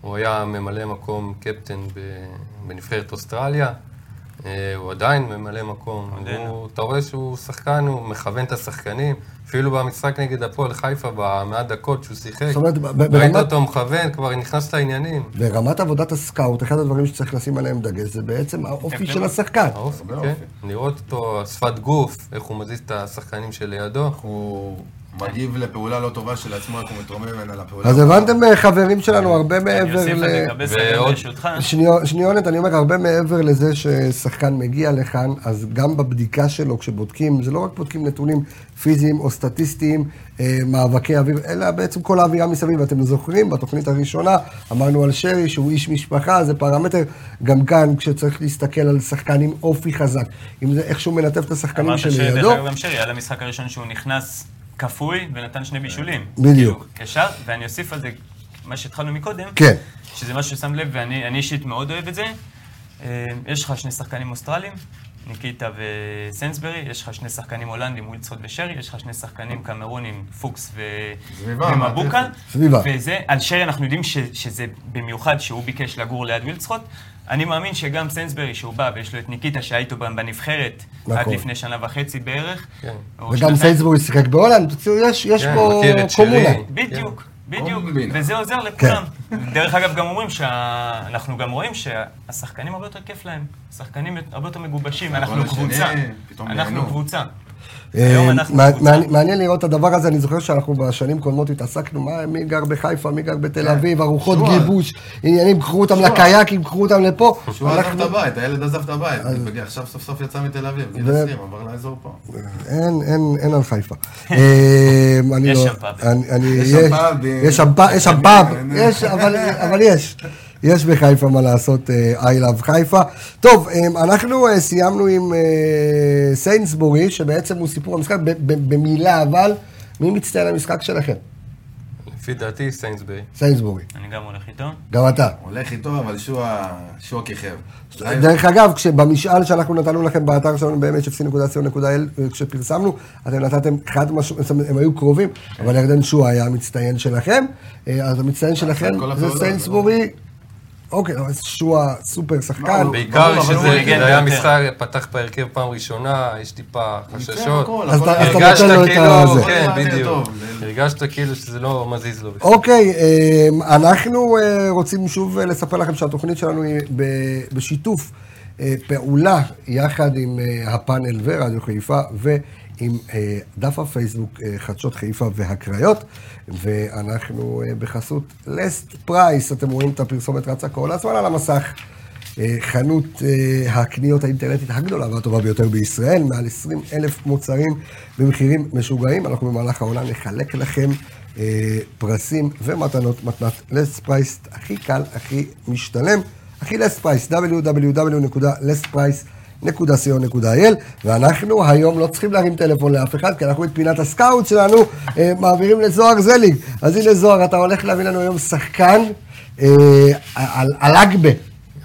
S4: הוא היה ממלא מקום קפטן ב- בנבחרת אוסטרליה. אה, הוא עדיין ממלא מקום.
S3: עודנו.
S4: הוא, אתה רואה שהוא שחקן, הוא מכוון את השחקנים. אפילו במשחק נגד הפועל חיפה, במעט דקות שהוא שיחק.
S1: זאת אומרת, ב- ב-
S4: ראית
S1: ברמת-
S4: אותו מכוון, כבר נכנס לעניינים.
S1: ברמת עבודת הסקאוט, אחד הדברים שצריך לשים עליהם דגש זה בעצם
S3: אוקיי,
S1: האופי של השחקן.
S4: האופי,
S2: הרבה
S4: כן.
S2: אופי.
S4: לראות אותו, שפת גוף, איך הוא מזיז את השחקנים שלידו.
S2: הוא מגיב לפעולה לא טובה של עצמו, איך הוא מתרומם ממנה לפעולה.
S1: אז הבנתם אה, חברים שלנו הרבה
S3: אני
S1: מעבר
S3: אוסיף
S1: ל...
S3: לגבי סגל
S4: ועוד-
S3: ברשותך.
S1: שניו- שניונת, אני אומר, הרבה מעבר לזה ששחקן מגיע לכאן, אז גם בבדיקה שלו, כשבודקים, זה לא רק בודקים נתונים פיזיים או סטטיסטיים, אה, מאבקי אוויר, אלא בעצם כל האווירה מסביב. אתם זוכרים, בתוכנית הראשונה אמרנו על שרי שהוא איש משפחה, זה פרמטר. גם כאן, כשצריך להסתכל על שחקן עם אופי חזק, אם זה איך שהוא מלטף את השחקנים
S3: אמרת
S1: שלידו.
S3: שדרך אגב גם שרי, היה למשחק הראשון שהוא נכנס כפוי ונתן שני בישולים.
S1: בדיוק.
S3: כאילו, ישר, ואני אוסיף על זה מה שהתחלנו מקודם,
S1: כן.
S3: שזה משהו ששם לב, ואני אני אישית מאוד אוהב את זה. אה, יש לך שני שחקנים אוסטרלים, ניקיטה וסנסברי, יש לך שני שחקנים הולנדים, ווילצחוט ושרי, יש לך שני שחקנים קמרונים, פוקס ו...
S2: סביבה,
S3: ומבוקה.
S2: מעטפת.
S1: סביבה.
S3: וזה, על שרי אנחנו יודעים ש, שזה במיוחד שהוא ביקש לגור ליד וילצחוט. אני מאמין שגם סנסברי שהוא בא ויש לו את ניקיטה שהיה איתו בנבחרת, רק
S1: נכון.
S3: לפני שנה וחצי בערך.
S4: כן.
S3: או
S1: וגם
S3: שנתיים.
S1: סיינסבורג שיחק בהולנד, תוציאו, יש, יש
S4: כן,
S1: פה
S4: מכיר את שרי.
S1: קומונה.
S3: בדיוק, בדיוק,
S2: קומבינה.
S3: וזה עוזר לכולם. דרך אגב, גם אומרים שאנחנו גם רואים שהשחקנים הרבה יותר כיף להם. שחקנים הרבה יותר מגובשים, אנחנו
S2: הגול השני,
S3: קבוצה.
S2: פתאום
S3: אנחנו
S2: נהנו.
S3: קבוצה. היום
S1: אה,
S3: אנחנו
S1: מע-
S3: קבוצה.
S1: מעניין- מעניין לראות את הדבר הזה, אני זוכר שאנחנו בשנים קודמות התעסקנו, מה, מי גר בחיפה, מי גר
S4: כן.
S1: בתל אביב, ארוחות
S2: שועה.
S1: גיבוש, עניינים, קחו אותם לקייקים, קחו אותם לפה.
S2: שהוא עזב את
S1: אנחנו-
S2: הבית, הילד עזב את הבית, בגלל- עכשיו סוף סוף יצא מתל אביב, גיל
S1: ו-
S2: 20, עבר לאזור פה.
S1: אין, אין, אין על חיפה. אה, אני
S3: יש
S1: לא-
S3: שם פאבים.
S1: אני- אני-
S2: יש שם פאבים.
S1: יש שם פאב, יש שם פאב,
S2: אין, אין.
S1: יש, אבל אבל יש. יש בחיפה מה לעשות, אה, I love חיפה. טוב, אה, אנחנו אה, סיימנו עם אה, סיינסבורי, שבעצם הוא סיפור המשחק, ב- ב- במילה אבל, מי מצטיין המשחק שלכם?
S4: לפי דעתי, סיינסברי.
S1: סיינסבורי,
S3: אני גם הולך איתו.
S1: גם אתה.
S2: הולך איתו, אבל שועה, שועה כיכב.
S4: אה,
S1: דרך אגב, כשבמשאל שאנחנו נתנו לכם באתר שלנו, ב-mhfc.co.il, כשפרסמנו, אתם נתתם חד משמעית, זאת אומרת, הם היו קרובים, אבל ירדן שועה היה המצטיין שלכם, אה, אז המצטיין שלכם
S2: כל
S1: זה
S2: הפעולות,
S1: סיינסבורי, אוקיי, אבל שועה סופר שחקן,
S4: לא,
S2: הוא- ברור,
S4: בעיקר
S2: אבל הוא
S4: שזה
S2: מגן
S4: זה היה
S3: ביותר.
S4: משחק, פתח בהרכב פעם ראשונה, יש טיפה חששות.
S1: אז אתה- אז אתה
S4: הרגשת
S1: נותן לו את
S4: כאילו,
S1: הזה.
S4: כן,
S2: הכל נראה
S4: בדיוק.
S2: טוב.
S4: הרגשת כאילו שזה לא מזיז לו בכלל.
S1: אוקיי, אמ, אנחנו אה, רוצים שוב אה, לספר לכם שהתוכנית שלנו היא ב- בשיתוף אה, פעולה יחד עם אה, הפאנל ורדיו חיפה ועם אה, דף הפייסבוק אה, חדשות חיפה והקריות, ואנחנו אה, בחסות לסט פרייס, אתם רואים את הפרסומת רצה כל הזמן על המסך. אה, חנות אה, הקניות האינטרנטית הגדולה והטובה ביותר בישראל, מעל 20 אלף מוצרים במחירים משוגעים. אנחנו במהלך העונה נחלק לכם אה, פרסים ומתנות, מתנת לספייסט, הכי קל, הכי משתלם. הכי לספייס, www.lessprice.com www.co.il, ואנחנו היום לא צריכים להרים טלפון לאף אחד, כי אנחנו את פינת הסקאוט שלנו אה, מעבירים לזוהר זליג. אז הנה זוהר, אתה הולך להביא לנו היום שחקן אה, על אלגבה.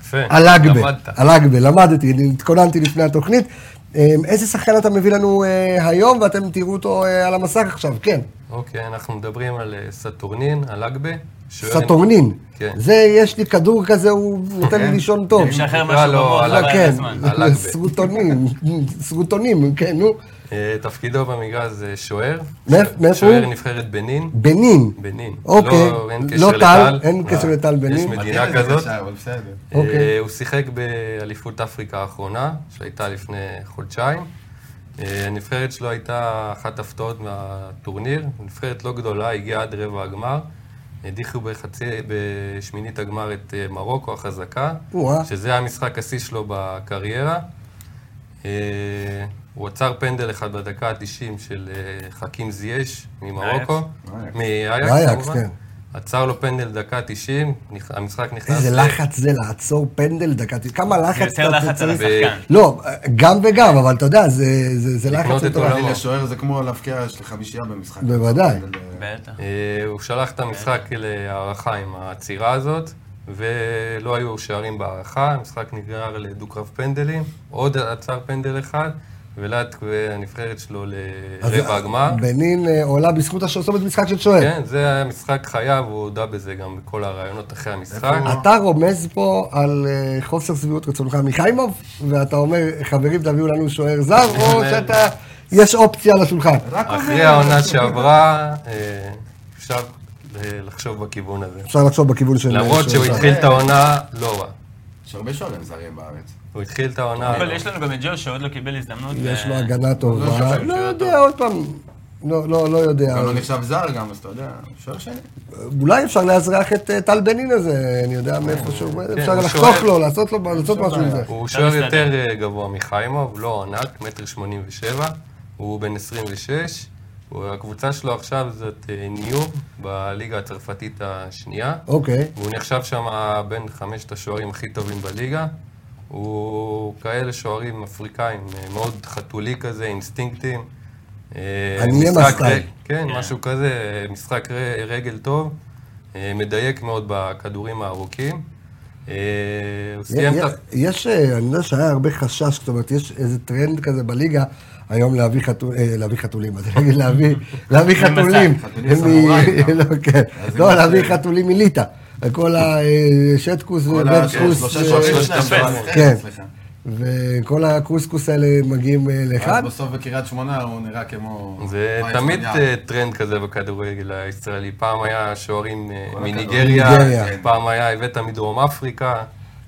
S4: יפה,
S1: אלגבה,
S4: כן. למדת.
S1: אלגבה, למדתי, אני התכוננתי לפני התוכנית. אה, איזה שחקן אתה מביא לנו אה, היום, ואתם תראו אותו אה, על המסך עכשיו, כן.
S4: אוקיי, אנחנו מדברים על אה, סטורנין, הלגבה. שוער-
S1: סטורנין.
S4: כן.
S1: זה, יש לי כדור כזה, הוא נותן לי לישון טוב.
S3: משחרר
S4: נקרא
S3: משהו
S4: לו
S3: בבוא,
S4: על
S3: חבל על
S1: כן,
S3: הזמן.
S4: אלגבה.
S1: סרוטונים, סרוטונים, כן, נו.
S4: אה, תפקידו במגרש זה שוער.
S1: מאיפ- מאיפה
S4: שוער
S1: הוא?
S4: נבחרת בנין.
S1: בנין.
S4: בנין.
S1: אוקיי.
S4: לא, אין
S1: לא
S4: קשר
S1: טל,
S4: לטל.
S1: אין קשר
S4: אה,
S1: לטל בנין.
S4: יש
S2: מתאים
S4: מדינה
S2: לזה
S4: כזאת.
S2: ישר, אבל בסדר.
S1: אוקיי.
S4: אה, הוא שיחק באליפות אפריקה האחרונה, שהייתה לפני חודשיים. אה, הנבחרת שלו הייתה אחת ההפתעות מהטורניר. נבחרת לא גדולה, הגיעה עד רבע הגמר. הדיחו בחצי, בשמינית הגמר את אה, מרוקו החזקה,
S1: או-אה.
S4: שזה היה המשחק השיא שלו בקריירה. אה, הוא עצר פנדל אחד בדקה ה-90 של אה, חכים זייש ממרוקו.
S2: מאייקס.
S4: מאייקס,
S1: מאייקס,
S4: כמובן.
S1: כן.
S4: עצר לו פנדל דקה 90, נכ- המשחק נכנס...
S1: איזה
S4: ל-
S1: לחץ זה לעצור פנדל דקה, תראה, כמה לחץ
S3: זה יותר
S1: אתה
S3: לחץ על
S1: צריך-
S3: השחקן.
S1: לא, גם וגם, אבל אתה יודע, זה- זה זה
S4: לקנות
S1: לחץ
S4: את
S1: מטורף.
S4: עולמו.
S2: לשוער זה כמו להבקיע של חמישייה במשחק.
S1: בוודאי.
S3: בטח.
S4: אה, הוא שלח את המשחק להערכה עם העצירה הזאת, ולא היו שערים בהערכה, המשחק נגרר לדו-קרב פנדלים, עוד עצר פנדל אחד, ולאט הנבחרת שלו
S1: אז
S4: לרבע הגמר.
S1: בנין אה, עולה בזכות השוסמת משחק של שוער.
S4: כן, זה היה משחק חייו, הוא הודה בזה גם בכל הראיונות אחרי המשחק.
S2: איפה הוא?
S1: אתה רומז פה על אה, חוסר שביעות רצונך מחיימוב, ואתה אומר, חברים, תביאו לנו שוער זר, או שאתה, יש אופציה על השולחן.
S2: רק
S4: אחרי העונה שעברה, אה, אפשר אה, לחשוב בכיוון הזה.
S1: אפשר לחשוב בכיוון של...
S4: למרות
S1: של
S4: שהוא
S1: זר.
S4: התחיל את העונה לא רע.
S2: יש הרבה שוערים זרים בארץ.
S1: אה,
S4: הוא התחיל את העונה...
S3: אבל יש לנו גם את ג'ו שעוד לא קיבל הזדמנות. אה,
S1: יש
S3: ו-
S1: לו הגנה
S2: לא
S1: טובה.
S2: שופט,
S1: לא
S2: שוער
S1: יודע, עוד פעם, לא- לא לא יודע.
S2: גם לא נחשב זר גם, אז אתה יודע, שוער שני.
S1: אה, אולי אפשר לאזרח את אה, טל בנין הזה, אני יודע מאיפה שהוא, אפשר
S4: כן, הוא
S1: לחסוך
S4: שואל.
S1: לו, לעשות לו לעשות משהו עם זה.
S4: הוא
S3: אתה
S4: שוער
S3: מסתדר.
S4: יותר אה, גבוה מחיימוב, לא ענק, מטר שמונים ושבע, הוא בן 26. הוא- הקבוצה שלו עכשיו זאת אה, ניו, בליגה הצרפתית השנייה.
S1: אוקיי.
S4: והוא נחשב שם בין חמשת השוערים הכי טובים בליגה. הוא כאלה שוערים אפריקאים, אה, מאוד חתולי כזה, אינסטינקטים. אה,
S1: אני אהיה
S4: משחק
S1: מסטייל.
S4: ר- כן, משהו כזה, אה, משחק ר- רגל טוב, אה, מדייק מאוד בכדורים הארוכים. אה, הוא סיים את ה...
S1: יש, אה, אני יודע שהיה הרבה חשש, זאת אומרת, יש איזה טרנד כזה בליגה. היום להביא חתול- אה, להביא חתולים, אז אני אגיד להביא- להביא חתולים.
S2: חתולים סמוראי
S1: מ-
S2: גם.
S1: לא, כן.
S2: אז
S1: לא,
S2: אם
S1: להביא
S2: זה-
S1: חתולים מליטא. כל אה, השטקוס
S2: כל ה- כן,
S1: ובטקוס.
S2: שלושה
S1: אה,
S2: שוערים,
S4: שלושת
S2: שני השוערים.
S1: כן.
S2: כן, סליחה.
S1: וכל הקוסקוס האלה מגיעים אה,
S2: ואז
S1: לאחד.
S2: בסוף בקריית שמונה הוא נראה כמו...
S4: זה
S2: מה,
S4: תמיד
S2: יש
S4: אה, טרנד כזה בכדורגל הישראלי. פעם היה שוערים אה,
S2: כל
S4: מניגריה,
S1: מניגריה. כן.
S4: פעם היה הבאת מדרום אפריקה.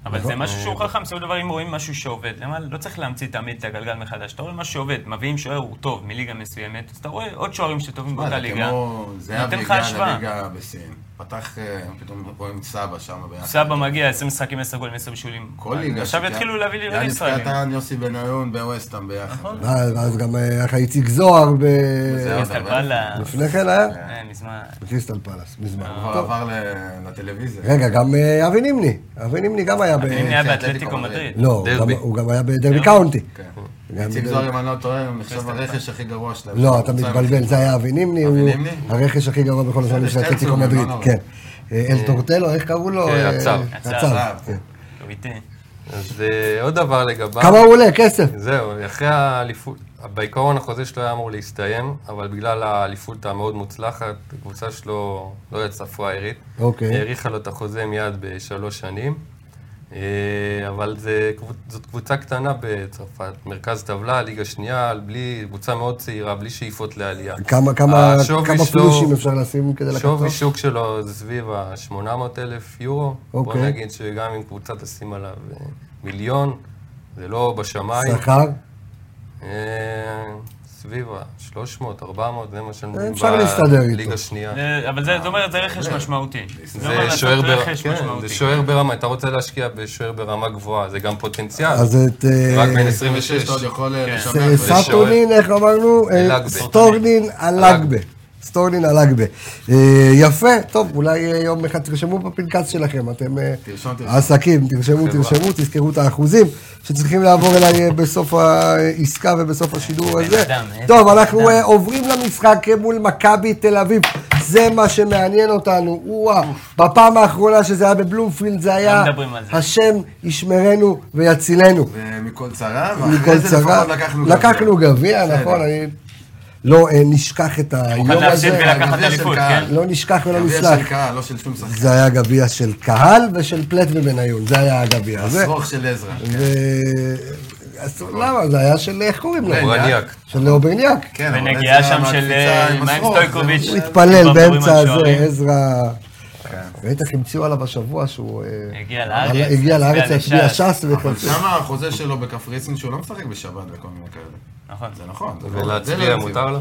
S3: אבל זה משהו שהוא חכם, בסופו של דבר אם רואים משהו שעובד, למה לא צריך להמציא תמיד את הגלגל מחדש, אתה רואה משהו שעובד, מביאים שוער הוא טוב מליגה מסוימת, אז אתה רואה עוד שוערים שטובים
S2: מה,
S3: באותה
S2: זה
S3: ליגה,
S2: כמו זהבי
S3: נותן לך
S2: הגיע
S3: השוואה.
S2: לליגה בסין. פתח, אה, פתאום רואים את סבא שם ביחד.
S3: סבא מגיע, 20 משחקים, 10 גולים, 10 בישולים,
S2: כל ליגה.
S3: עכשיו
S2: שכן.
S3: יתחילו להביא לי
S2: היה
S3: ישראלים, נכון.
S2: נפקעתן יוסי בניון בווסטהאם ביחד.
S1: ואז ואז גם אה, היה איציק זוהר, ב-
S2: וזהו.
S3: קריסטל פלאס,
S1: לפני כן היה?
S3: אה, מזמן,
S1: בקריסטל פלאס, מזמן.
S2: הוא כבר
S1: טוב.
S2: עבר ל- לטלוויזיה.
S1: רגע, גם אה, אבי נימני. אבי נימני גם היה ב...
S3: אם היה
S2: אתלטיקו
S3: באתלטיקו
S2: מדריד.
S3: מדריד,
S1: לא, הוא
S4: דרבי.
S1: גם- הוא גם היה בדרבי קאונטי.
S2: כן.
S1: גם
S2: איציק
S1: בדרבי-
S2: זוהר, אם אני לא טועה, הוא נחשב הרכש הכי גרוע שלהם.
S1: לא, אתה
S2: הוא צמח.
S1: מתבלבל, זה היה אבי נימני,
S2: אבי
S1: הוא
S2: נימני?
S1: הרכש הכי גרוע בכל הזמן
S2: בסדר,
S1: של אתלטיקו
S2: שטרצמן,
S1: מדריד,
S2: לא נורא.
S1: כן. אה, אל טורטלו, איך קראו לו?
S4: אה,
S1: אה,
S4: הצב.
S3: הצב.
S1: הצב,
S2: הצב.
S1: כן.
S3: הוא איתי,
S4: אז אה, עוד דבר לגביו.
S1: כמה הוא עולה? כסף.
S4: זהו, אחרי האליפות, בעיקרון החוזה שלו היה אמור להסתיים, אבל בגלל האליפות המאוד מוצלחת, הקבוצה שלו לא יצאה פראיירית.
S1: אוקיי.
S4: האריכה לו את החוזה מיד בשלוש שנים. אה, אבל זה, קבוצ- זאת קבוצה קטנה בצרפת, מרכז טבלה, ליגה שנייה, בלי, קבוצה מאוד צעירה, בלי שאיפות לעלייה.
S1: כמה- כמה
S4: השווי
S1: כמה
S4: שלו-
S1: פלושים אפשר לשים כדי לקחת?
S4: שווי
S1: אותו?
S4: שוק שלו זה סביב ה-800 אלף יורו. בוא
S1: אוקיי.
S4: נגיד שגם אם קבוצה תשים עליו אה, מיליון, זה לא בשמיים.
S1: שכר?
S4: אה, סביב ה-300-400, זה מה שאני
S1: אה, אפשר להסתדר איתו.
S4: בליגה שנייה.
S3: אה, אבל זה- זאת אומרת, זה רכש משמעותי. לא מה
S4: זה
S3: לעשות,
S4: שוער ברמה,
S3: רכש
S4: כן,
S3: משמעותי.
S4: זה שוער ברמה, אתה רוצה להשקיע בשוער ברמה גבוהה, זה גם פוטנציאל,
S1: אז את אה,
S4: רק בין 26.
S2: 26 אתה עוד יכול אה,
S3: כן.
S2: לשבח.
S1: אה,
S2: ו-
S4: סאפ.
S1: סטורנין, איך אמרנו? אה,
S4: אלגבה.
S1: סטורנין אלגבה. סטורנין אלגבה. אה, יפה, טוב, אולי אה, יום אחד תרשמו בפנקס שלכם, אתם אה,
S2: תרשום, תרשום.
S1: העסקים, תרשמו, תרשמו, תזכרו את האחוזים שצריכים לעבור אליי אה, בסוף העסקה ובסוף השידור הזה.
S3: אדם, אה,
S1: טוב,
S3: בן
S1: אנחנו
S3: אדם.
S1: אה, עוברים למשחק אה, מול מכבי תל אביב, זה מה שמעניין אותנו, וואו, בפעם האחרונה שזה היה בבלומפילד זה היה,
S3: לא מדברים על זה.
S1: השם ישמרנו ויצילנו.
S2: ומכל צרה,
S1: מכל
S2: ואחרי זה
S1: צרה.
S2: לפחות לקחנו
S1: לקחנו גביע,
S2: בסדר.
S1: נכון, אני לא אה, נשכח את היום
S3: להפסיד
S1: הזה,
S3: ולקחת
S2: הגביע של
S3: אליפות,
S2: קהל.
S3: כן?
S1: לא נשכח ולא
S2: גביע של
S1: נסלח.
S2: קהל, לא של שום שחקן.
S1: זה היה גביע של קהל ושל פלט ובניון, זה היה הגביע הזה.
S2: שרוך של עזרא. כן.
S1: ו- אז למה? זה היה של, איך קוראים לו?
S4: אורניאק.
S1: של אוברניאק.
S2: כן, אבל
S3: ונגיעה
S2: עזרא
S3: שם של
S2: מהקפיצה
S3: אה,
S2: עם
S3: מה עם
S2: השרוך,
S3: סטויקוביץ'.
S1: הוא
S2: זה- לא
S1: התפלל
S3: בבחורים
S1: באמצע הזה,
S3: השוערים.
S1: עזרא...
S2: כן.
S1: ראית איך המציאו עליו השבוע שהוא... אה,
S3: הגיע לארץ,
S1: הגיע לארץ,
S3: הצביע
S1: הצביע
S3: לש"ס.
S1: ש"ס
S2: אבל
S1: וכו'.
S2: שם החוזה שלו בקפריסין שהוא לא משחק בשבת וכל מיני כאלה.
S3: נכון.
S2: זה נכון. זה לא- זה לא
S4: ולהצביע
S2: יציב.
S4: מותר לו?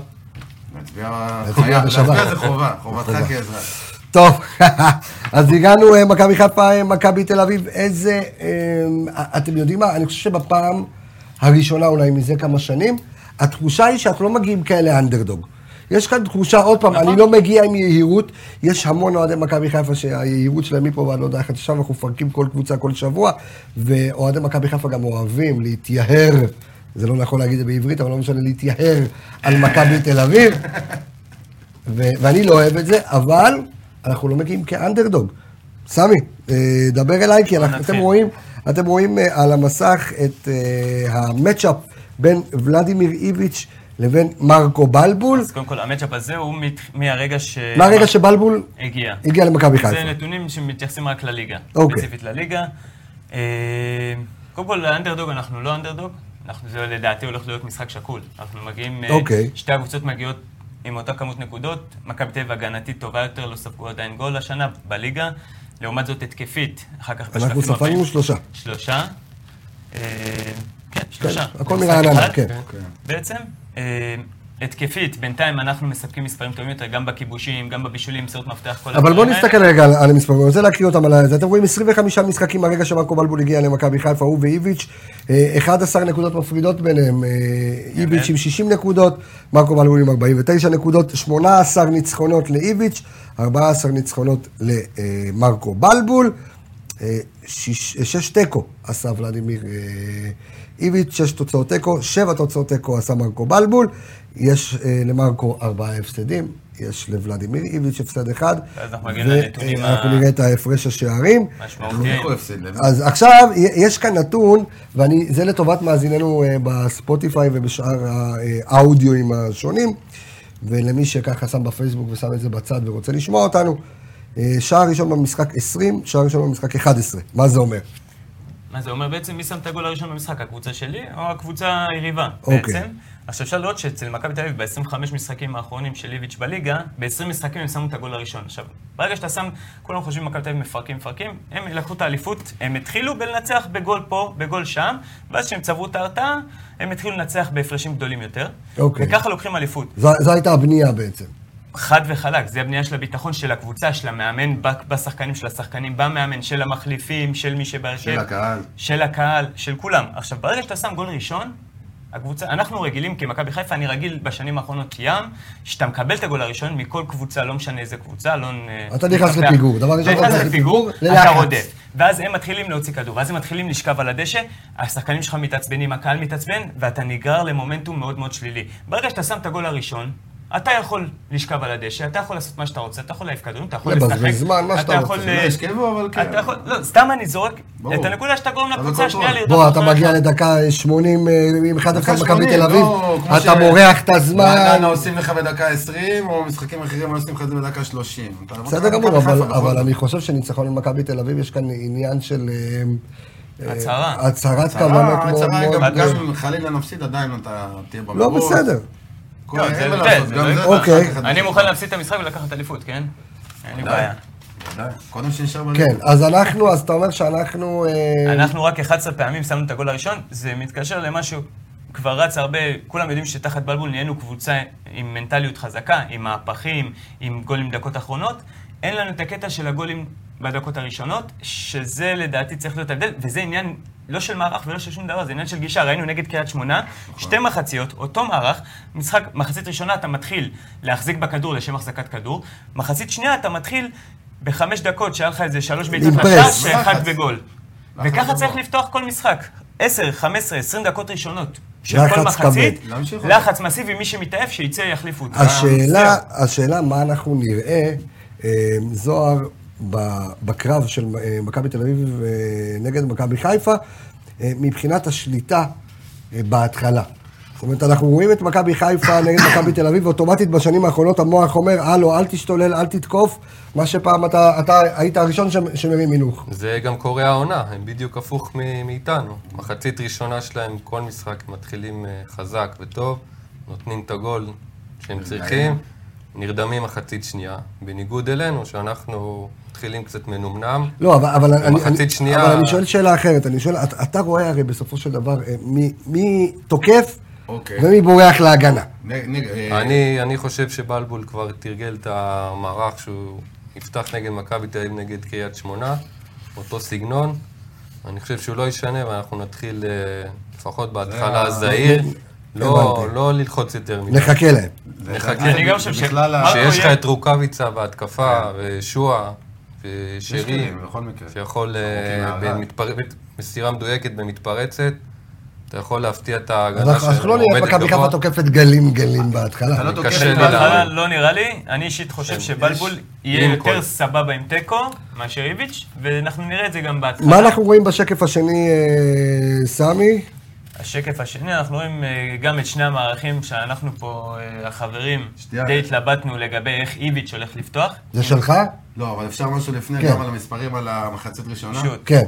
S2: להצביע חייב,
S1: בשבת.
S2: להצביע זה חובה, חובתך כאזרח.
S1: טוב, אז הגענו, אה, מכבי חיפה, אה, מכבי תל אביב, איזה... אה, אתם יודעים מה? אני חושב שבפעם הראשונה, אולי מזה כמה שנים, התחושה היא שאנחנו לא מגיעים כאלה אנדרדוג. יש כאן תחושה, עוד פעם, אני לא מגיע עם יהירות, יש המון אוהדי מכבי חיפה שהיהירות שלהם מפה ועד להודעה חדשה, ואנחנו מפרקים כל קבוצה כל שבוע, ואוהדי מכבי חיפה גם אוהבים להתייהר, זה לא נכון להגיד את זה בעברית, אבל לא משנה, להתייהר על מכבי תל אביב. ו- ואני לא אוהב את זה, אבל אנחנו לא מגיעים כאנדרדוג. סמי, אה, דבר אליי, כי אנחנו,
S3: נתחיל.
S1: אתם רואים, אתם רואים אה, על המסך את אה, המצ'אפ בין ולדימיר איביץ' לבין מרקו בלבול,
S3: אז אה, קודם כל, המצ'אפ הזה הוא מת- מהרגע ש...
S1: מהרגע שבלבול
S3: הגיע.
S1: הגיע למכבי
S3: זה
S1: חיפה.
S3: נתונים שמתייחסים רק לליגה.
S1: אוקיי.
S3: ספציפית לליגה. אה, קודם כל, לאנדרדוג אנחנו לא אנדרדוג. אנחנו, זה לדעתי הולך להיות משחק שקול. אנחנו מגיעים... אה,
S1: אוקיי.
S3: שתי הקבוצות מגיעות עם אותה כמות נקודות. מכבי תל אביב הגנתית טובה יותר, לא ספגו עדיין גול השנה בליגה. לעומת זאת התקפית, אחר כך בשלבים
S1: אנחנו ספגנו
S3: הבאים.
S1: שלושה.
S3: שלושה. אה, כן, שלושה.
S1: הכל
S3: משחק
S1: מרעננה,
S3: אחד.
S1: כן.
S3: בעצם, אה, התקפית, בינתיים אנחנו מספקים מספרים טובים יותר, גם בכיבושים, גם בבישולים, מסירות מפתח, כל
S1: אבל בואו
S3: הדברים האלה.
S1: נסתכל רגע על- על המספרים, אני רוצה להקריא אותם על זה. אתם רואים 25 משחקים מהרגע שמרקו בלבול הגיע למכבי חיפה, הוא ואיביץ', אה, 11 נקודות מפרידות ביניהם, אה, איביץ' עם 60 נקודות, מרקו בלבול עם 49 נקודות, 18 ניצחונות לאיביץ', 14 ניצחונות למרקו בלבול, אה, שיש אה, שש תיקו עשה ולדימיר אה, איביץ', שש תוצאות תיקו, שבע תוצאות תיקו עשה מרקו בלבול, יש אה, למרקו ארבעה הפסדים, יש לוולדימיר איביץ' הפסד אחד,
S3: ואז אנחנו מגיעים
S1: ו-
S3: לנתונים
S1: אה, אנחנו
S3: ה-
S1: נראה את ההפרש השערים.
S3: משמעותי.
S2: איך הוא אוקיי. הפסיד להם?
S1: אז עכשיו, י- יש כאן נתון, וזה לטובת מאזיננו אה, בספוטיפיי ובשאר האודיואים השונים, ולמי שככה שם בפייסבוק ושם את זה בצד ורוצה לשמוע אותנו, אה, שער ראשון במשחק 20, שער ראשון במשחק 11. מה זה אומר?
S3: מה זה אומר בעצם מי שם את הגול הראשון במשחק, הקבוצה שלי או הקבוצה היריבה
S1: אוקיי.
S3: בעצם? עכשיו אפשר לראות שאצל מכבי תל אביב ב-25 משחקים האחרונים של איביץ' בליגה, ב-20 משחקים הם שמו את הגול הראשון. עכשיו, ברגע שאתה שם, כולם חושבים מכבי תל אביב מפרקים מפרקים, הם לקחו את האליפות, הם התחילו בלנצח בגול פה, בגול שם, ואז כשהם צברו את ההרתעה, הם התחילו לנצח בהפרשים גדולים יותר.
S1: אוקיי.
S3: וככה לוקחים אליפות.
S1: זו, זו הייתה הבנייה בעצם.
S3: חד וחלק, זה הבנייה של הביטחון של הקבוצה, של המאמן, ב- בשחקנים של השחקנים, במאמן, של המחליפים, של מי שבהרכב.
S2: של הקהל.
S3: של הקהל, של כולם. עכשיו, ברגע שאתה שם גול ראשון, הקבוצה, אנחנו רגילים, כמכבי חיפה, אני רגיל בשנים האחרונות ים, שאתה מקבל את הגול הראשון מכל קבוצה, לא משנה איזה קבוצה, לא... נ-
S1: אתה נכנס
S3: נתווכח.
S1: לפיגור, דבר ראשון,
S3: אתה נכנס לפיגור, אתה
S1: ללחץ.
S3: רודף. ואז הם מתחילים להוציא כדור, ואז הם מתחילים לשכב על הדשא, השחקנים שלך מתעצבנים, הקהל מתעצבן, ואתה נגרר למומנטום מאוד מאוד שלילי. ברגע שאתה שם את הגול הראשון, אתה יכול לשכב על הדשא, אתה יכול לעשות מה שאתה רוצה, אתה יכול להעיף כדורים, אתה יכול
S1: לבזבז
S3: לשחק,
S1: זמן, מה
S3: אתה
S1: שאתה
S3: יכול,
S1: רוצה.
S2: לא
S3: אה,
S2: השכבו, אבל כן.
S3: אתה יכול, לא, סתם אני זורק
S2: ברור.
S3: את הנקודה שאתה גורם
S2: אבל
S3: לקבוצה
S2: כל
S3: השנייה
S2: פעם.
S3: לרדוף.
S1: בוא, אתה
S3: אחריך.
S1: מגיע לדקה 80 אה, עם 1-1
S2: לא דקה
S1: מכבי
S2: 80,
S1: תל אביב,
S2: נכון, לא, כמו
S1: אתה
S2: ש-
S1: מורח את הזמן.
S2: רעננה עושים לך בדקה 20, או משחקים אחרים לא עושים לך את זה בדקה 30. אתה-
S1: בסדר
S2: מכבי
S1: גמור,
S2: חיפה
S1: אבל-
S2: בכל
S1: אבל
S2: זאת.
S1: אני חושב שניצחון על מכבי תל אביב, יש כאן עניין של... אה, אה,
S3: הצהרה.
S1: הצהרת
S2: צרה,
S1: כוונות מאוד
S2: צרה,
S1: מאוד...
S2: גם-
S1: אה,
S2: גם אם חלילה נפסיד, עדיין אתה תהיה במרוץ.
S1: לא, בסדר.
S2: כל-
S3: לא,
S2: אין
S3: זה
S2: מה
S3: לא
S2: לעשות,
S3: זה,
S2: גם
S3: זה
S2: זה
S3: לא
S2: אתה
S1: אוקיי.
S2: אחר כך
S3: אני
S2: תפסיד.
S3: מוכן להפסיד את המשחק ולקחת אליפות, כן? אין לי בעיה.
S2: די, קודם שנשאר בליגה.
S1: כן, אז אנחנו, אז אתה אומר שאנחנו... אה,
S3: אנחנו רק 11 פעמים שמנו את הגול הראשון, זה מתקשר למשהו כבר רץ הרבה, כולם יודעים שתחת בלבול נהיינו קבוצה עם מנטליות חזקה, עם מהפכים, עם גולים דקות אחרונות. אין לנו את הקטע של הגולים בדקות הראשונות, שזה לדעתי צריך להיות ההבדל, וזה עניין לא של מערך ולא של שום דבר, זה עניין של גישה. ראינו נגד קריית שמונה, שתי מחציות, אותו מערך, משחק, מחצית ראשונה אתה מתחיל להחזיק בכדור לשם החזקת כדור, מחצית שנייה אתה מתחיל בחמש דקות שהיה לך איזה שלוש בעיטות לשער,
S1: להתפרס.
S3: שאחד
S2: לחץ.
S3: בגול.
S2: לחץ
S3: וככה צריך
S2: גבוה.
S3: לפתוח כל משחק. 10, 15, 20 דקות ראשונות של
S1: לחץ
S3: כל מחצית,
S1: כבד.
S2: להמשיך.
S3: לחץ מסיבי, מי שמתאהב שיצא יחליפו אותו.
S1: השאלה, השאלה מה אנחנו נראה, אה, זוהר, ב- בקרב של אה, מכבי תל אביב אה, נגד מכבי חיפה, אה, מבחינת השליטה אה, בהתחלה. זאת אומרת, אנחנו רואים את מכבי חיפה נגד מכבי תל אביב, ואוטומטית בשנים האחרונות המוח אומר, הלו, אל תשתולל, אל תתקוף, מה שפעם אתה, אתה היית הראשון ש- שמרים הילוך.
S4: זה גם קורה העונה, הם בדיוק הפוך מ- מאיתנו. מחצית ראשונה שלהם, כל משחק, הם מתחילים אה, חזק וטוב, נותנים את הגול שהם צריכים, נרדמים מחצית שנייה. בניגוד אלינו, שאנחנו מתחילים קצת מנומנם.
S1: לא, אבל, אבל, אני,
S4: במחצית
S1: אני,
S4: שנייה-
S1: אבל אני שואל שאלה אחרת, אני שואל, אתה, אתה רואה הרי בסופו של דבר אה, מי, מי תוקף
S2: אוקיי.
S1: ומי בורח להגנה.
S2: נ- נ- אה,
S4: אני, אני חושב שבלבול כבר תרגל את המערך שהוא יפתח נגד מכבי תל אביב נגד קריית שמונה, אותו סגנון. אני חושב שהוא לא ישנה ואנחנו נתחיל, אה, לפחות בהתחלה, זהיר. לא,
S1: הבנתי.
S4: לא ללחוץ יותר מדי.
S1: נחכה להם.
S4: נחכה.
S3: אני גם חושב ש-
S2: בכלל ה-
S3: מה-
S4: שיש לך
S3: אויב.
S4: את רוקאביצה בהתקפה, ושועה,
S2: יש
S4: ושרי,
S2: כלים, בכל מקרה.
S3: כן.
S4: שיכול אה,
S2: ארוכים מהרעד.
S4: במתפר- במסירה מדויקת במתפרצת, אתה יכול להפתיע את ההגנה
S1: אז אנחנו לא נראה את מכבי חיפה תוקפת גלים גלים בהתחלה.
S2: אתה לא תוקף
S4: קשה לי
S2: בכלל.
S4: להאמין.
S3: בהתחלה לא נראה לי, אני אישית חושב שבלבול יהיה
S4: לינקולן.
S3: יותר סבבה עם תיקו מאשר איביץ', ואנחנו נראה את זה גם בהתחלה.
S1: מה אנחנו רואים בשקף השני, אה, סמי?
S3: השקף השני, אנחנו רואים אה, גם את שני המערכים שאנחנו פה, אה, החברים,
S2: שנייה.
S3: די התלבטנו לגבי איך איביץ' הולך לפתוח.
S1: זה שלך?
S2: לא, אבל אפשר משהו לפני,
S1: כן.
S2: גם על המספרים, על המחצית ראשונה.
S3: שוט.
S1: כן.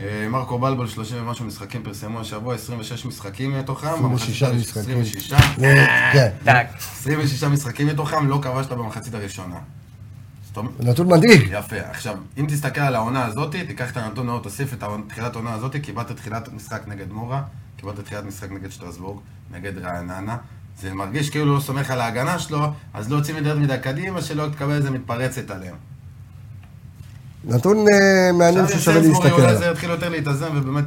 S2: אה, מרקו בלבול, 30 ומשהו משחקים פרסמו השבוע, 26 משחקים מתוכם.
S1: 26
S2: במחצית-
S1: משחקים.
S2: 26.
S1: זה- כן.
S3: טאק.
S2: 26 משחקים מתוכם, לא כבשת במחצית הראשונה. זאת אומרת,
S1: נתון מדאיג.
S2: יפה. עכשיו, אם תסתכל על העונה הזאת, תיקח את הנתון ההוא, תוסיף את העונה- תחילת העונה הזאת, קיבלת תחילת משחק נגד מורה, קיבלת תחילת משחק נגד שטרסבורג, נגד רעננה. זה מרגיש כאילו לא סומך על ההגנה שלו, אז לא יוצאים יותר מדי קדימה, שלא תקבל איזה מתפרצת עליהם.
S1: נתון אה, מעניין
S2: עכשיו
S1: ששווה
S2: יוצא זמורי,
S1: להסתכל
S2: אולי
S1: עליו.
S2: זה יתחיל יותר להתאזן, ובאמת...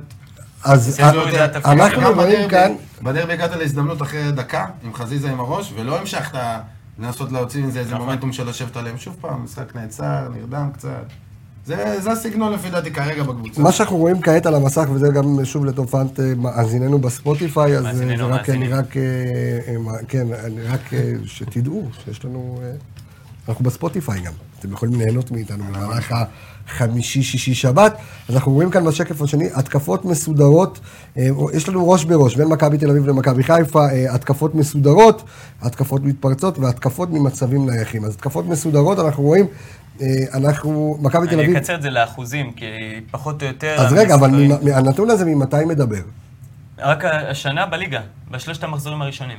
S1: אז
S3: יוצא זמורי
S1: אה,
S3: זה התפקיד.
S1: אנחנו
S2: גם
S1: רואים
S2: בדרבי-
S1: כאן,
S2: בדרבי הגעת להזדמנות אחרי דקה, עם חזיזה עם הראש, ולא המשכת לנסות להוציא מזה איזה מומנטום של לשבת עליהם. שוב פעם, משחק נעצר, נרדם קצת. זה זה הסגנון לפי דעתי כרגע בקבוצה.
S1: מה שאנחנו רואים כעת על המסך, וזה גם שוב לטובת אה, מאזיננו בספוטיפיי, אז אה,
S3: מאזיננו,
S1: זה רק, אני
S3: מאזינים.
S1: רק, אה, אה, מה- כן, אני רק אה, שתדעו שיש לנו, אה, אנחנו בספוטיפיי גם, אתם יכולים ליהנות מאיתנו במהלך החמישי, שישי, שבת. אז אנחנו רואים כאן בשקף השני, התקפות מסודרות, אה, יש לנו ראש בראש בין מכבי תל אביב למכבי חיפה, אה, התקפות מסודרות, התקפות מתפרצות והתקפות ממצבים נייחים. אז התקפות מסודרות, אנחנו רואים, אה, אנחנו, מכבי תל
S3: אני
S1: אביב...
S3: אקצר את זה לאחוזים, כי פחות או יותר...
S1: אז רגע, אבל
S3: המספרים-
S1: ממ- הנתון הזה ממתי מדבר?
S3: רק השנה בליגה, בשלושת המחזורים הראשונים.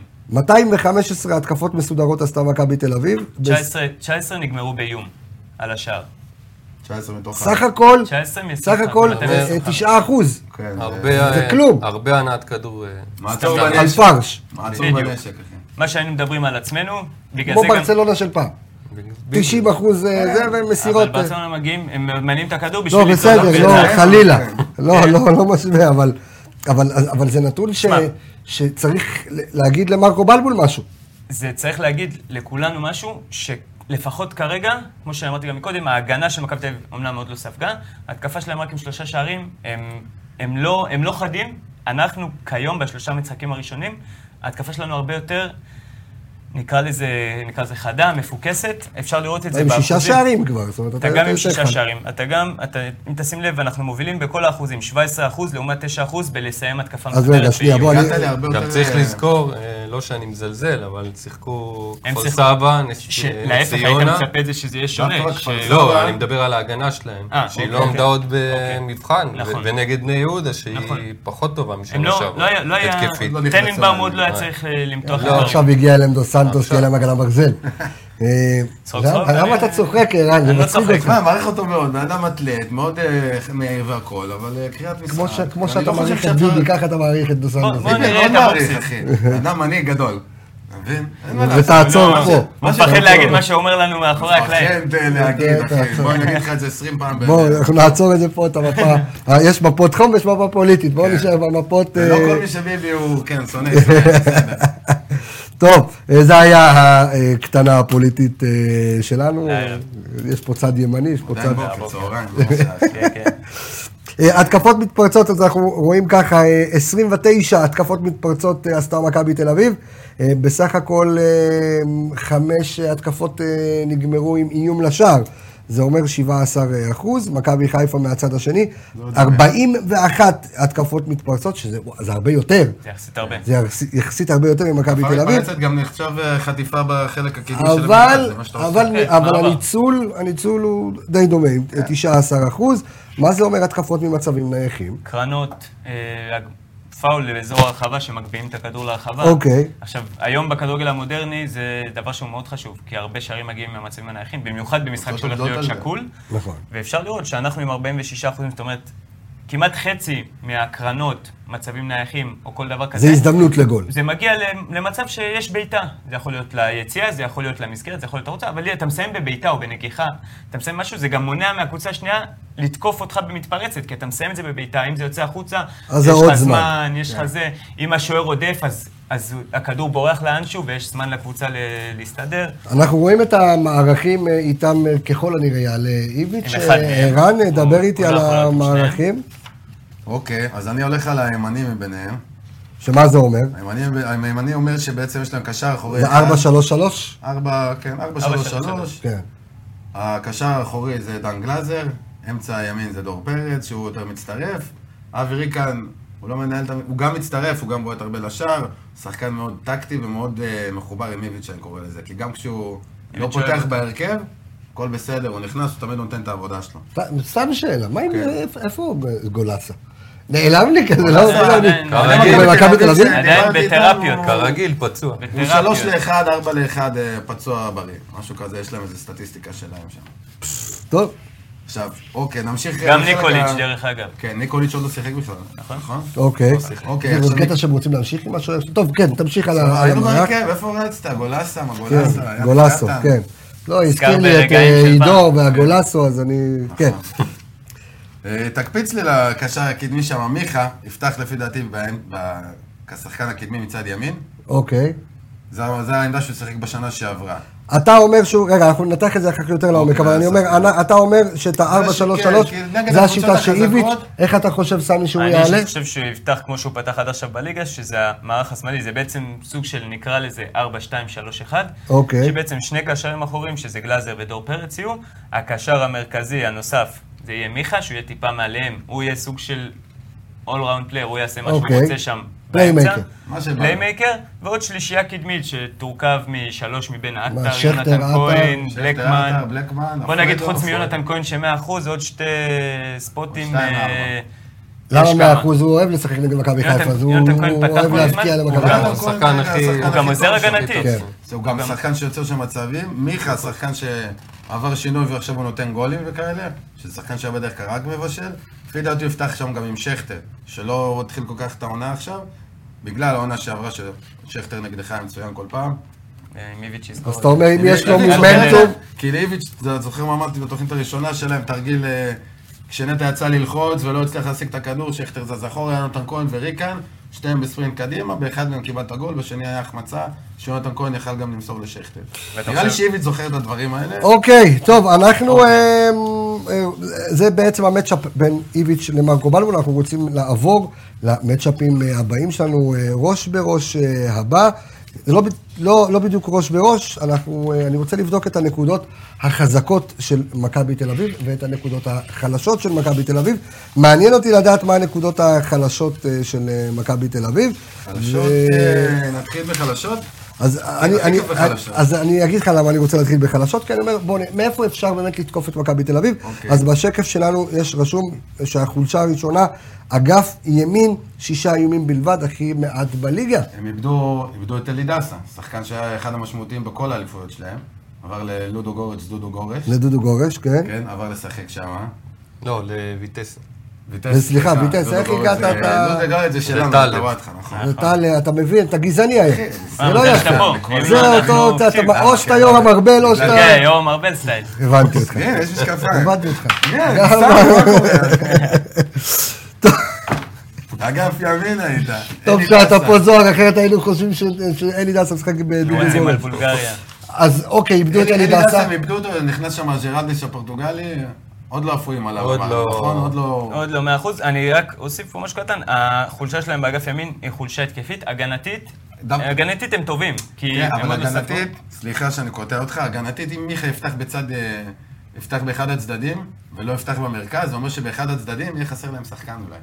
S1: 215 התקפות מסודרות עשתה מכבי תל אביב. בס-
S3: 19 19 נגמרו באיום על השער.
S2: 19 מתוך ה-
S1: סך הכל,
S3: 19 מ-
S1: סך הכל
S3: אתם
S1: אה,
S3: מ-
S1: אה, 9 אחוז.
S2: כן, זה-
S4: הרבה,
S1: זה
S4: אה,
S1: כלום.
S4: הרבה הנעת כדור. אה,
S2: מעצור
S3: סתם,
S1: על
S2: בנשק.
S1: פרש.
S2: מעצור
S3: בדיוק.
S2: בנשק, אחי.
S3: מה שהיינו מדברים על עצמנו, בגלל
S1: כמו
S3: זה גם...
S1: ברצלונה של פעם.
S4: ב-
S1: 90 אחוז אה, זה, ומסירות...
S3: אבל
S1: אה,
S3: ברצלונה מגיעים, הם מעלים את הכדור בשביל...
S1: לא,
S3: לצלוח
S1: בסדר,
S3: בעיטה.
S1: לא,
S2: כן.
S1: חלילה.
S2: כן.
S1: לא, לא, לא משווה, אבל... אבל, אבל זה נתון ש,
S3: שמע.
S1: שצריך להגיד למרקו בלבול משהו.
S3: זה צריך להגיד לכולנו משהו, שלפחות כרגע, כמו שאמרתי גם מקודם, ההגנה של מכבי תל אביב אומנם עוד לא ספגה, ההתקפה שלהם רק עם שלושה שערים, הם, הם, לא, הם לא חדים. אנחנו כיום, בשלושה המשחקים הראשונים, ההתקפה שלנו הרבה יותר, נקרא לזה, נקרא לזה חדה, מפוקסת. אפשר לראות את זה
S1: עם שישה
S3: באחוזים.
S1: שערים כבר. זאת אומרת,
S3: אתה גם עם
S1: יותר
S3: שישה
S1: אחד.
S3: שערים. אתה גם, אתה, אם תשים לב, אנחנו מובילים בכל האחוזים, 17 אחוז לעומת 9 אחוז בלסיים התקפה
S1: אז רגע, שנייה, בוא,
S2: הגעת
S1: אני-
S2: להרבה
S4: גם
S2: יותר...
S4: צריך
S2: אה,
S4: לזכור, אה, לא שאני מזלזל, אבל שיחקו
S3: הם
S4: כפר
S3: שיחקו-
S4: סבא, נס
S3: ש-
S4: אה, נס
S3: להפך, היית
S4: ציונה.
S3: מצפה את זה שזה יהיה שונה.
S2: דווקא
S3: ש-
S2: כפר סבא.
S4: לא, אני מדבר על ההגנה שלהם,
S3: אה,
S4: שהיא
S3: אוקיי,
S4: לא
S3: אוקיי.
S4: עמדה עוד במבחן, ו-
S3: נכון.
S4: ונגד בני יהודה, שהיא
S3: נכון.
S4: פחות טובה
S3: הם
S4: משנה
S3: לא,
S4: שעברה,
S3: לא היה, לא היה,
S4: התקפית.
S2: לא נכנסו
S3: טננבאום עוד לא היה
S4: לעניין.
S3: צריך אה, למתוח את
S1: לא,
S3: הדברים.
S1: עכשיו הגיע אליהם דו סנטוס, כי
S4: עכשיו.
S1: היה להם הגנה ברזל. אה,
S3: צחוק,
S1: למה-
S3: צחוק,
S1: למה
S3: אני-
S1: אתה צוחק, ערן? זה
S3: אני לא
S1: מצחיק
S3: צוחק.
S1: אותך.
S2: תשמע, מעריך אותו מאוד, בן אדם אתלט, מאוד אה, מהיר והכול, אבל אה, קריאת משחק.
S1: כמו ש- כמו
S2: אני
S1: שאתה
S2: לא חושב
S1: מעריך את
S2: שאתה-
S1: ביבי, ככה אתה מעריך את דו סנטוס.
S3: בוא
S2: הנה,
S3: נראה
S2: מאוד
S3: את
S2: מעריך,
S3: הבוקסים.
S2: אחי. אדם מנהיג גדול. אתה מבין? אין מה לעשות.
S1: ותעצור
S3: לא,
S1: פה.
S3: הוא מפחד להגיד מה שאומר לנו מאחורי הקלעים.
S2: מפחד אה, להגיד, אחי. בוא אני אגיד לך את זה 20 פעם. ב-
S1: בואו, אנחנו נעצור את זה פה, את המפה. אה, יש מפות חום ויש מפה פוליטית, בואו נשאר במפות...
S2: לא
S1: אה,
S2: כל מי שביבי הוא, כן, שונא, שונא, בסדר.
S1: טוב, אה, זה היה הקטנה הפוליטית אה, שלנו.
S3: לערב.
S1: יש פה צד ימני, יש פה צד...
S2: עדיין בוקר, צהריים, לא שעה.
S3: כן, כן.
S1: אה, התקפות מתפרצות, אז אנחנו רואים ככה, אה, 29 התקפות מתפרצות אה, עשתה מכבי תל אביב. אה, בסך הכל אה, חמש אה, התקפות אה, נגמרו עם איום לשער. זה אומר 17 אחוז, מכבי חיפה מהצד השני,
S2: לא
S1: 41 התקפות מתפרצות, שזה וואו, זה הרבה יותר.
S3: זה יחסית הרבה.
S1: זה יחסית- יחסית הרבה יותר ממכבי
S2: כבר
S1: תל אביב.
S2: מתפרצת גם נחשב אה, חטיפה בחלק הקדמי של המשחק,
S1: אבל,
S2: זה מה כן. שאתה עושה.
S1: אבל,
S3: כן,
S1: אבל
S3: מעבר.
S1: הניצול, הניצול הוא די דומה, 19 אחוז. מה זה אומר התקפות ממצבים נייחים?
S3: קרנות, אה, פאול לאזור הרחבה שמגביהים את הכדור להרחבה.
S1: אוקיי.
S3: עכשיו, היום בכדורגל המודרני זה דבר שהוא מאוד חשוב, כי הרבה שערים מגיעים מהמצבים הנייחים, במיוחד במשחק
S2: עובדות
S3: שהולך
S2: עובדות
S3: להיות
S2: על זה.
S3: שקול.
S1: נכון.
S3: ואפשר לראות שאנחנו עם 46 אחוזים, זאת אומרת, כמעט חצי מהקרנות, מצבים נייחים או כל דבר כזה.
S1: זה הזדמנות לגול.
S3: זה מגיע ל- למצב שיש בעיטה. זה יכול להיות ליציאה, זה יכול להיות למסגרת, זה יכול להיות הרוצה, אבל אתה מסיים בבעיטה או בנגיחה, אתה מסיים משהו, זה גם מונע מהקבוצה השנייה לתקוף אותך במתפרצת, כי אתה מסיים את זה בבעיטה, אם זה יוצא החוצה,
S1: אז
S3: יש
S1: זה עוד
S3: לך
S1: זמן. כן.
S3: זמן, יש לך זה, אם השוער עודף, אז, אז הכדור בורח לאנשהו ויש זמן לקבוצה ל- להסתדר.
S1: אנחנו רואים את המערכים אה, איתם אה, ככל הנראה יעלה איביץ'.
S3: עם אחד
S1: אה,
S3: מהם.
S1: ערן, אה,
S3: הוא-
S1: דבר איתי
S3: הוא
S1: על
S3: לא יכול לעלות עם
S1: המערכים.
S2: אוקיי, אז אני הולך על הימני מביניהם.
S1: שמה זה אומר?
S2: הימני- הימני אומר שבעצם יש להם קשר אחורי...
S1: זה
S2: אחד.
S1: 4-3-3?
S2: ארבע, כן, ארבע, שלוש,
S3: שלוש,
S2: שלוש.
S1: כן.
S2: הקשר האחורי זה דן גלאזר, אמצע הימין זה דור פרץ, שהוא יותר מצטרף. אבי ריקן, הוא לא מנהל את ה... הוא גם מצטרף, הוא גם בועט הרבה לשער. שחקן מאוד טקטי ומאוד אה, מחובר עם איביץ' אני קורא לזה. כי גם כשהוא לא
S3: איביץ' אוהב
S2: פותח
S3: אותו.
S2: בהרכב, הכל בסדר, הוא נכנס, הוא תמיד נותן את העבודה שלו.
S1: ת- סתם שאלה, מה עם...
S2: כן.
S1: איפה- איפה הוא אה, גולסה? נעלם לי כזה, לא...
S3: גולסה
S1: לא, אני-
S3: עדיין-
S1: הוא
S4: כרגיל.
S1: במכבי תל אביב?
S3: עדיין
S2: דיברתי
S3: בתרפיות.
S2: איתנו.
S4: כרגיל, פצוע.
S2: הוא
S3: וטרפיות.
S2: שלוש לאחד, ארבע לאחד אה, פצוע בריא. משהו כזה, יש להם איזו סטטיסטיקה שלהם שם.
S1: טוב,
S2: עכשיו, אוקיי, נמשיך...
S3: גם
S2: לחלק
S3: ניקוליץ',
S2: ה-
S3: דרך אגב.
S2: כן, ניקוליץ' עוד לא שיחק בכלל, נכון?
S1: אוקיי.
S2: אוקיי,
S1: זה
S2: עכשיו
S1: קטע שהם רוצים להמשיך עם השוער? טוב, כן, תמשיך על ה- על
S2: היינו
S1: המערך.
S2: בהרכב, איפה רצת? גולסה, מה
S1: כן,
S2: גולסה? היה
S1: גולסו,
S2: קטן.
S1: כן. לא, הזכיר לי את
S3: ברגעים
S1: אה,
S3: של
S1: עידו
S3: פעם.
S1: והגולסו, אז אני... כן.
S2: אה, תקפיץ לי לקשר הקדמי שם, מיכה, יפתח לפי דעתי באמ- ב- כשחקן הקדמי מצד ימין.
S1: אוקיי.
S2: זה ה- זה העמדה שהוא שיחק בשנה שעברה.
S1: אתה אומר שהוא, רגע, אנחנו ננתח את זה אחר כך יותר לעומק,
S2: אוקיי,
S1: אבל אני
S2: אז-
S1: אומר, אני- אתה אומר שאת ה-4-3-3,
S2: כן, כי נגד
S1: זה
S2: הקבוצות
S1: השיטה של איביץ',
S2: החזקות-
S1: איך אתה חושב, סמי, שהוא יעלה?
S3: אני חושב שהוא יפתח כמו שהוא פתח עד עכשיו בליגה, שזה המערך השמאלי, זה בעצם סוג של נקרא לזה 4-2-3-1.
S1: אוקיי.
S3: שבעצם שני קשרים אחוריים, שזה גלאזר ודור פרץ יהיו, הקשר המרכזי הנוסף זה יהיה מיכה, שהוא יהיה טיפה מעליהם, הוא יהיה סוג של all round player, הוא יעשה מה שהוא
S1: אוקיי.
S3: רוצה שם
S1: Playmaker.
S3: באמצע.
S2: מה שבא.
S3: פליימייקר, ועוד שלישייה קדמית שתורכב משלוש מבין
S1: מה,
S3: עטר,
S1: שכטר, עטר,
S3: יונתן כהן,
S2: שכטר,
S3: בלקמן.
S2: עטר, בלקמן,
S3: בוא נגיד,
S2: אפרידו,
S3: חוץ
S2: אפרידו.
S3: מיונתן כהן ש-100 אחוז, עוד שתי ספוטים.
S2: שתיים,
S3: אה,
S2: ארבע.
S1: למה
S3: יש
S1: 100%
S3: כמה.
S1: הוא אוהב לשחק נגד מכבי
S3: יונתן-
S1: חיפה, אז הוא
S3: יונתן כהן
S1: הוא
S3: פתח
S1: אוהב
S3: כל
S1: להבקיע
S3: הזמן.
S1: למכבי
S4: הוא גם לא-
S1: חיפה.
S4: השחקן הכי...
S2: הוא
S3: גם עוזר
S2: הכי טוב
S3: הגנתית.
S1: כן.
S2: זה הוא גם שחקן שיוצר שם מצבים. מיכה, שחקן שעבר שינוי ועכשיו הוא נותן גולים וכאלה, שזה שחקן שהיה בדרך כלל רק מבשל. לפי דעתי הוא יפתח שם גם עם שכטר, שלא התחיל כל כך את העונה עכשיו, בגלל העונה שעברה ששכטר נגדך היה מצוין כל פעם.
S3: אה, מיביץ' יזכור.
S1: אז אתה אומר, אם יש לו
S2: איביץ'
S1: מומנטום,
S2: עובד, כי לאיביץ', אתה זוכר מה אמרתי בתוכנית הראשונה שלהם, תרגיל, אה, כשנטע יצא ללחוץ ולא הצליח להשיג את הכדור, שכטר זז אחורה, יונתן כהן וריקן, שניהם בספרינט קדימה, באחד מהם קיבלת גול, בשני היה החמצה, שיונתן כהן יכל גם למסור לשכטר.
S3: ואתה
S2: נראה לי
S3: חושב-
S2: שאיביץ' זוכר את הדברים האלה.
S1: אוקיי, טוב, אנחנו... אה,
S2: אוקיי.
S1: אה, זה בעצם המצ'אפ בין איביץ' למרקו בלבול, אנחנו רוצים לעבור למצ'אפים אה, הבאים שלנו, אה, ראש בראש אה, הבא. זה לא, ב- לא, לא בדיוק ראש בראש, אנחנו, אה, אני רוצה לבדוק את הנקודות החזקות של מכבי תל אביב ואת הנקודות החלשות של מכבי תל אביב. מעניין אותי לדעת מה הנקודות החלשות אה, של אה, מכבי תל אביב.
S2: חלשות,
S1: ו-
S2: אה, נתחיל בחלשות.
S1: אז אני,
S2: הכי
S1: אני,
S2: טוב בחלשות.
S1: אז אני אגיד לך למה אני רוצה להתחיל בחלשות, כי אני אומר, בואו, נ- מאיפה אפשר באמת לתקוף את מכבי תל אביב?
S2: אוקיי.
S1: אז בשקף שלנו יש רשום שהחולשה הראשונה, אגף ימין, שישה איומים בלבד, הכי מעט בליגה.
S2: הם איבדו איבדו את אלי דסה, שחקן שהיה אחד המשמעותיים בכל האליפויות שלהם. עבר ללודו גורץ', דודו גורץ',
S1: לדודו גורש, כן?
S2: כן, עבר לשחק שם.
S4: לא, לויטסה.
S3: אה,
S2: ויטס,
S1: סליחה,
S2: סליחה,
S1: ויטס,
S2: דודו
S1: איך
S2: גורץ,
S1: הגעת?
S2: אה,
S1: אתה-
S2: דודו גורץ' זה שלנו,
S4: טאלב.
S2: טוואטחה, נכון. כן,
S1: טל, אתה מבין, אתה גזעני היה. זה לא
S3: אבל שאתה
S1: יפה.
S3: פה.
S1: זה
S3: אנחנו-
S2: לא
S1: אותו, אתה-
S3: תקשיב,
S1: אתה-
S2: אה,
S1: או שאתה יורם ארבל או שאתה...
S3: כן, יורם ארבל סטייל.
S1: הבנתי אותך.
S2: כן, יש משקפיים.
S1: הבנתי אותך.
S2: כן,
S1: גם-
S2: סתם, מה קורה? אגף ימין היית.
S1: טוב
S2: אלי
S1: שאתה
S2: דסה.
S1: פה זוהר, אחרת היינו חושבים ש- שאלי דסה משחק בדודו
S3: יועצים על
S1: גורש.
S3: בולגריה.
S1: אז אוקיי, איבדו את
S3: לא
S1: אלי דסה.
S2: הם איבדו אותו, נכנס שם ג'רלדיש הפורטוגלי, עוד לא עפויים עליו,
S4: עוד
S2: אבל,
S4: לא.
S2: נכון? עוד לא...
S3: עוד לא מאה אחוז, אני רק אוסיף פה משהו קטן, החולשה שלהם באגף ימין היא חולשה התקפית, הגנתית,
S2: דו-
S3: הגנתית הם טובים, כי
S2: כן,
S3: הם
S2: אבל
S3: עוד לא ספגו.
S2: הגנתית, סליחה שאני קוטע אותך, הגנתית, אם מיכה יפתח בצד, אה, יפתח באחד הצדדים, ולא יפתח במרכז, זה אומר שבאחד הצדדים יהיה חסר להם שחקן אולי.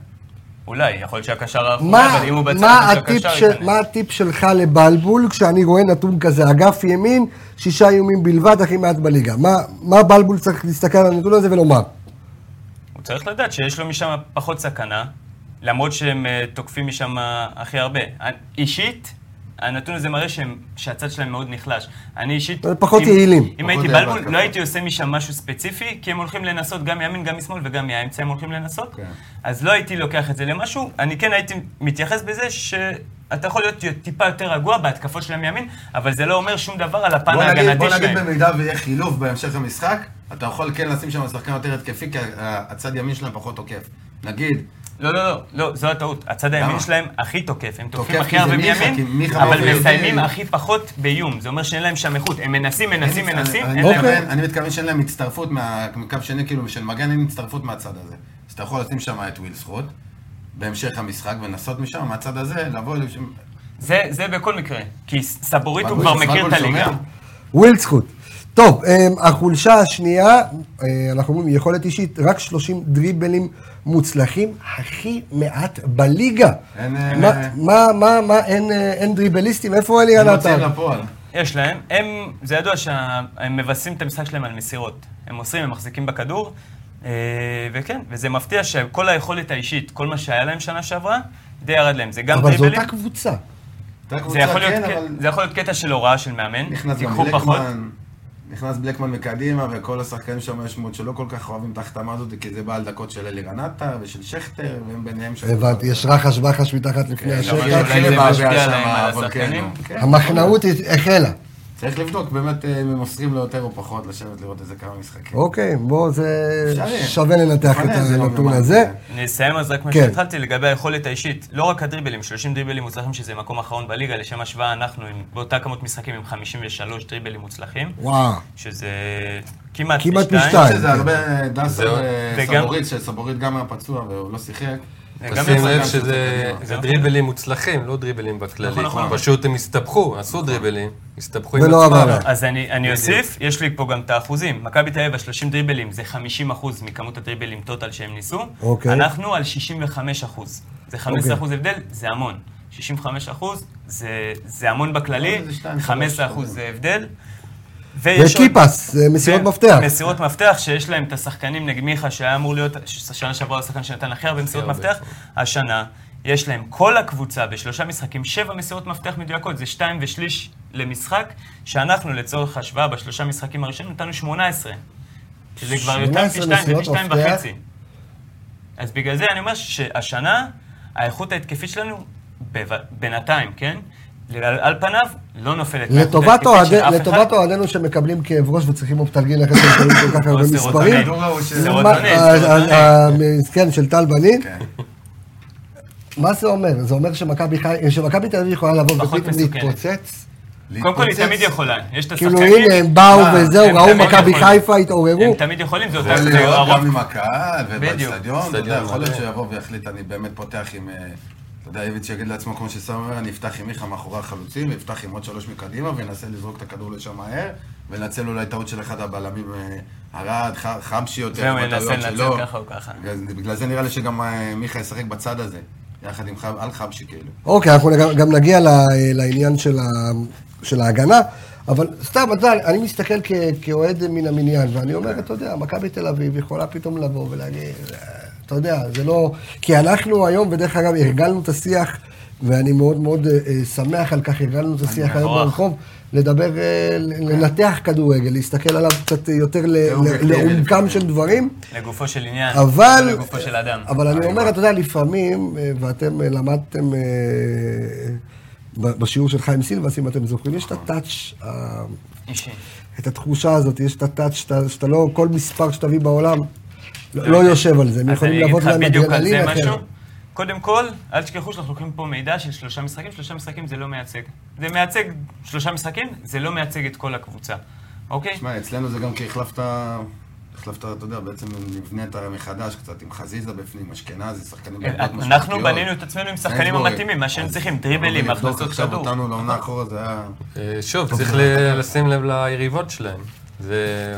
S3: אולי, יכול להיות שהקשר האחרון,
S1: מה-
S3: אבל אם הוא בצד,
S1: מה
S3: אז
S1: הטיפ
S3: הקשר
S1: של-
S3: ייכנס.
S1: מה הטיפ שלך לבלבול כשאני רואה נתון כזה, אגף ימין, שישה איומים בלבד, הכי מעט בליגה? מה- מה בלבול צריך להסתכל על הנתון הזה ולומר?
S3: הוא צריך לדעת שיש לו משם פחות סכנה, למרות שהם אה, תוקפים משם הכי הרבה. אני- אישית, הנתון הזה מראה שהם, שהצד שלהם מאוד נחלש. אני אישית...
S1: אבל אה, פחות
S3: אם-
S1: יעילים.
S3: אם
S2: פחות
S3: הייתי
S2: יעילים אוקיי.
S3: בלבול,
S2: בהתקפה.
S3: לא הייתי עושה משם משהו ספציפי, כי הם הולכים לנסות גם מימין, גם משמאל וגם מהאמצע הם הולכים לנסות.
S2: כן.
S3: אז לא הייתי לוקח את זה למשהו, אני כן הייתי מתייחס בזה שאתה יכול להיות טיפה יותר רגוע בהתקפות שלהם מימין, אבל זה לא אומר שום דבר על הפן
S2: בוא נגיד,
S3: ההגנתי
S2: בוא נגיד
S3: שלהם.
S2: במידה ויהיה חילוף בהמשך המשחק, אתה יכול כן לשים שם שחקן יותר התקפי, כי ה- ה- הצד ימין שלהם פחות תוקף. נגיד,
S3: לא, לא, לא, לא, זו הטעות. הצד הימין
S2: למה?
S3: שלהם הכי תוקף, הם תוקפים
S2: תוקף
S3: הכי
S2: כי זה
S3: הרבה
S2: מיכה, כי
S3: מימין,
S2: מיכה
S3: אבל
S2: מאוד
S3: מסיימים
S2: יודע.
S3: הכי פחות באיום. זה אומר שאין להם שם איכות. הם מנסים, מנסים,
S2: אני-
S3: מנסים,
S2: אני-
S3: אין
S2: אני
S3: להם...
S1: אוקיי.
S2: מתכוון- אני מתכוון שאין להם הצטרפות מה- מקו שני, כאילו, של מגן אין הצטרפות מהצד הזה. אז אתה יכול לשים שם את וויל זכות, בהמשך המשחק, ולנסות משם, מהצד הזה, לבוא... אליו שם-
S3: זה- זה בכל מקרה. כי ס- סבורית הוא
S2: בלבול,
S3: כבר
S2: בלבול
S3: מכיר את
S2: שומע?
S3: הליגה.
S1: ווילדסקוט. טוב, אמ, החולשה השנייה, אה, אנחנו אומרים יכולת אישית, רק 30 דריבלים מוצלחים, הכי מעט בליגה.
S2: אין, אה,
S1: מה, מה, מה, מה, אין, אה, אין דריבליסטים? איפה אלי
S2: הם מוציאים
S1: עלתה?
S2: לפועל.
S3: יש להם. הם, זה ידוע שהם מבססים את המשחק שלהם על מסירות. הם מוסרים, הם מחזיקים בכדור. אה, וכן, וזה מפתיע שכל היכולת האישית, כל מה שהיה להם שנה שעברה, די ירד להם. זה גם
S1: אבל זו
S3: דריבלים.
S1: אותה קבוצה.
S2: אותה
S3: זה
S2: קבוצה,
S3: יכול להיות
S2: כן,
S3: קט-
S2: אבל
S3: זה יכול להיות קטע של הוראה של מאמן.
S2: נכנס גם
S3: תיקחו פחות.
S2: בלקמן, נכנס בלקמן מקדימה, וכל השחקנים שם יש מאוד שלא כל כך אוהבים את ההחתמה הזאת, כי זה בא על דקות של אלי רנטה ושל שכטר, והם ביניהם שם. אה,
S1: הבנתי, יש רחש בחש מתחת לפני
S2: אבל
S3: אה, אולי
S2: זה
S1: השטח.
S2: מתחיל
S3: זה
S2: לבעבע
S3: משפיע
S2: שם,
S3: להם על
S2: אבל
S3: השחקנים.
S2: כן, כן.
S1: המחנאות החלה.
S2: צריך לבדוק באמת אה, אם הם מוסרים לו יותר או פחות, לשבת לראות איזה כמה משחקים.
S1: אוקיי, בוא, זה
S2: אפשרי.
S1: שווה לנתח את
S2: לפני זה לא
S1: הנתון
S2: ממש.
S3: אה,
S1: הזה.
S3: נסיים אז רק מה
S1: כן.
S3: שהתחלתי לגבי היכולת האישית. לא רק הדריבלים, 30 דריבלים מוצלחים שזה מקום אחרון בליגה, לשם השוואה אנחנו עם, באותה כמות משחקים עם 53 דריבלים מוצלחים,
S1: וואו.
S3: שזה כמעט
S1: כמעט
S3: פי שתיים.
S1: פי שתיים.
S2: שזה הרבה דסה
S4: זהו.
S3: וגם-
S2: וסבורית, שסבורית גם היה פצוע והוא לא שיחק.
S3: גם
S4: תשים
S3: יצא
S4: לב
S3: גם
S4: שזה
S2: שחקנים.
S4: זה דריבלים מוצלחים, לא דריבלים בכללי.
S2: נכון, נכון.
S4: פשוט הם הסתבכו,
S3: נכון.
S4: עשו דריבלים, הסתבכו עם
S1: ולא
S4: עצמם.
S1: עבר.
S3: אז אני, אני אוסיף, יש לי פה גם את האחוזים. מכבי תל אביב, ה-30 דריבלים זה 50 אחוז מכמות הדריבלים טוטל שהם ניסו.
S1: אוקיי.
S3: אנחנו על 65 אחוז. זה 15
S1: אוקיי.
S3: אחוז הבדל, זה המון. 65 אחוז זה, זה המון בכללי,
S2: זה שתיים,
S3: 15
S2: שלוש, אוקיי.
S3: אחוז
S2: שלוש.
S3: זה הבדל. ויש עוד-
S1: וקיפס, אה, מסירות
S3: כן,
S1: מפתח.
S3: מסירות מפתח, שיש להם את השחקנים נגד מיכה, שהיה אמור להיות, שנה שעברה הוא השחקן שנתן הכי הרבה מסירות
S4: הרבה.
S3: מפתח, השנה, יש להם כל הקבוצה בשלושה משחקים, שבע מסירות מפתח מדויקות, זה שתיים ושליש למשחק, שאנחנו לצורך השוואה בשלושה משחקים הראשונים נתנו 18. שזה כבר יותר פי
S1: 18
S3: שתיים, זה פי
S1: מסירות
S3: שתיים
S1: מפתח.
S3: וחצי. אז בגלל זה אני אומר שהשנה, האיכות ההתקפית שלנו, בב- בינתיים, כן? על- על פניו, לא נופלת. מהאיכות
S1: לטובת
S3: ההתקפית
S1: אוהדי-
S3: של אף אחד.
S1: לטובת אוהדינו שמקבלים כאב ראש וצריכים אופטלגין אחרי שהם מקבלים כל כך הרבה
S3: או
S1: מספרים.
S3: סרוטונין.
S2: לא, הוא ש-
S1: מה- אה,
S3: סרוטונין,
S1: ה-
S3: סרוטונין.
S1: ה- ה- כן, של טל בנין.
S2: כן.
S1: מה זה אומר? זה אומר שמכבי חי- שמכבי תל אביב יכולה לבוא
S3: פחות
S1: ופתאום
S3: מסוכנת.
S1: להתפוצץ?
S3: קודם כל, היא
S2: להתפוצץ.
S3: תמיד יכולה. יש את השחקנים. אה,
S1: כאילו הנה הם באו
S2: מה,
S1: וזהו,
S3: הם
S1: ראו
S3: תמיד
S1: מכבי
S3: יכולים.
S1: חיפה, התעוררו.
S3: הם תמיד יכולים, זה אותה
S2: יכול להיות
S3: הרוב.
S2: לא גם עם הקהל,
S3: בדיוק.
S2: ובאצטדיון, אתה יודע,
S4: אצטדיון
S2: יכול להיות
S4: מלא.
S2: שהוא יבוא ויחליט, אני באמת פותח עם... אה, אתה יודע, איביץ' יגיד לעצמו, כמו שסם אומר, אני אפתח עם מיכה מאחורי החלוצים, ואפתח עם עוד שלוש מקדימה, ואנסה לזרוק את הכדור לשם מהר, ונצל אולי טעות של אחד הבלמים, אה, ארד, ח- חבשי יותר,
S3: זהו,
S2: בטעויות
S3: ינסה לנצל
S2: שלו.
S3: ככה או ככה.
S2: בגלל זה- בגלל זה נראה לי שגם אה, מיכה ישחק בצד הזה, יחד עם חב- על חבשי כאילו.
S1: אוקיי, אנחנו גם- גם נגיע ל- לעניין של ה- של ההגנה, אבל סתם, אתה יודע, אני מסתכל כ- כאוהד מן המניין, ואני אומר, אתה יודע, מכבי תל אביב יכולה פתאום לבוא ולהגיד, "אה, אתה יודע, זה לא... כי אנחנו היום, ודרך אגב, הרגלנו את השיח, ואני מאוד מאוד אה, אה, שמח על כך, הרגלנו את השיח היום
S3: מבורך.
S1: ברחוב, לדבר, אה, לנתח כדורגל, להסתכל עליו קצת יותר ל- ל-
S2: אובייקטיבי.
S1: לעומקם של דברים.
S3: לגופו של עניין,
S1: אבל...
S3: לא לגופו של אדם.
S1: אבל אני אומר, אתה יודע, לפעמים, אה, ואתם אה, למדתם אה, ב- בשיעור של חיים סילבס, אם אתם זוכרים, יש את הטאץ', ה-
S3: אישי.
S1: את התחושה הזאת, יש את הטאץ' שאתה שאתה לא, כל מספר שתביא בעולם, לא לא יושב על זה. הם
S3: אז
S1: יכולים
S3: אני אגיד
S1: לעבוד
S3: לך
S1: להם
S3: בדיוק על זה
S1: אדרנלין אחר.
S3: משהו. קודם כל, אל תשכחו שאנחנו לוקחים פה מידע של שלושה משחקים, שלושה משחקים זה לא מייצג. זה מייצג שלושה משחקים, זה לא מייצג את כל הקבוצה, אוקיי?
S2: תשמע, אצלנו זה גם כי החלפת, החלפת, אתה יודע, בעצם נבנית מחדש קצת עם חזיזה בפנים, אשכנזי, שחקנים בעמדות
S3: אה, אנחנו
S2: משמעותיות.
S3: בנינו את עצמנו עם שחקנים
S2: סיינסבורי.
S3: המתאימים, מה שהם
S2: אז
S3: צריכים, דריבלים,
S2: לבדוק
S3: הכנסות
S2: עכשיו
S3: כדור.
S2: אותנו לעונה אחורה זה היה...
S4: אה, שוב, צריך ל- לשים לב ליריבות שלהם. זה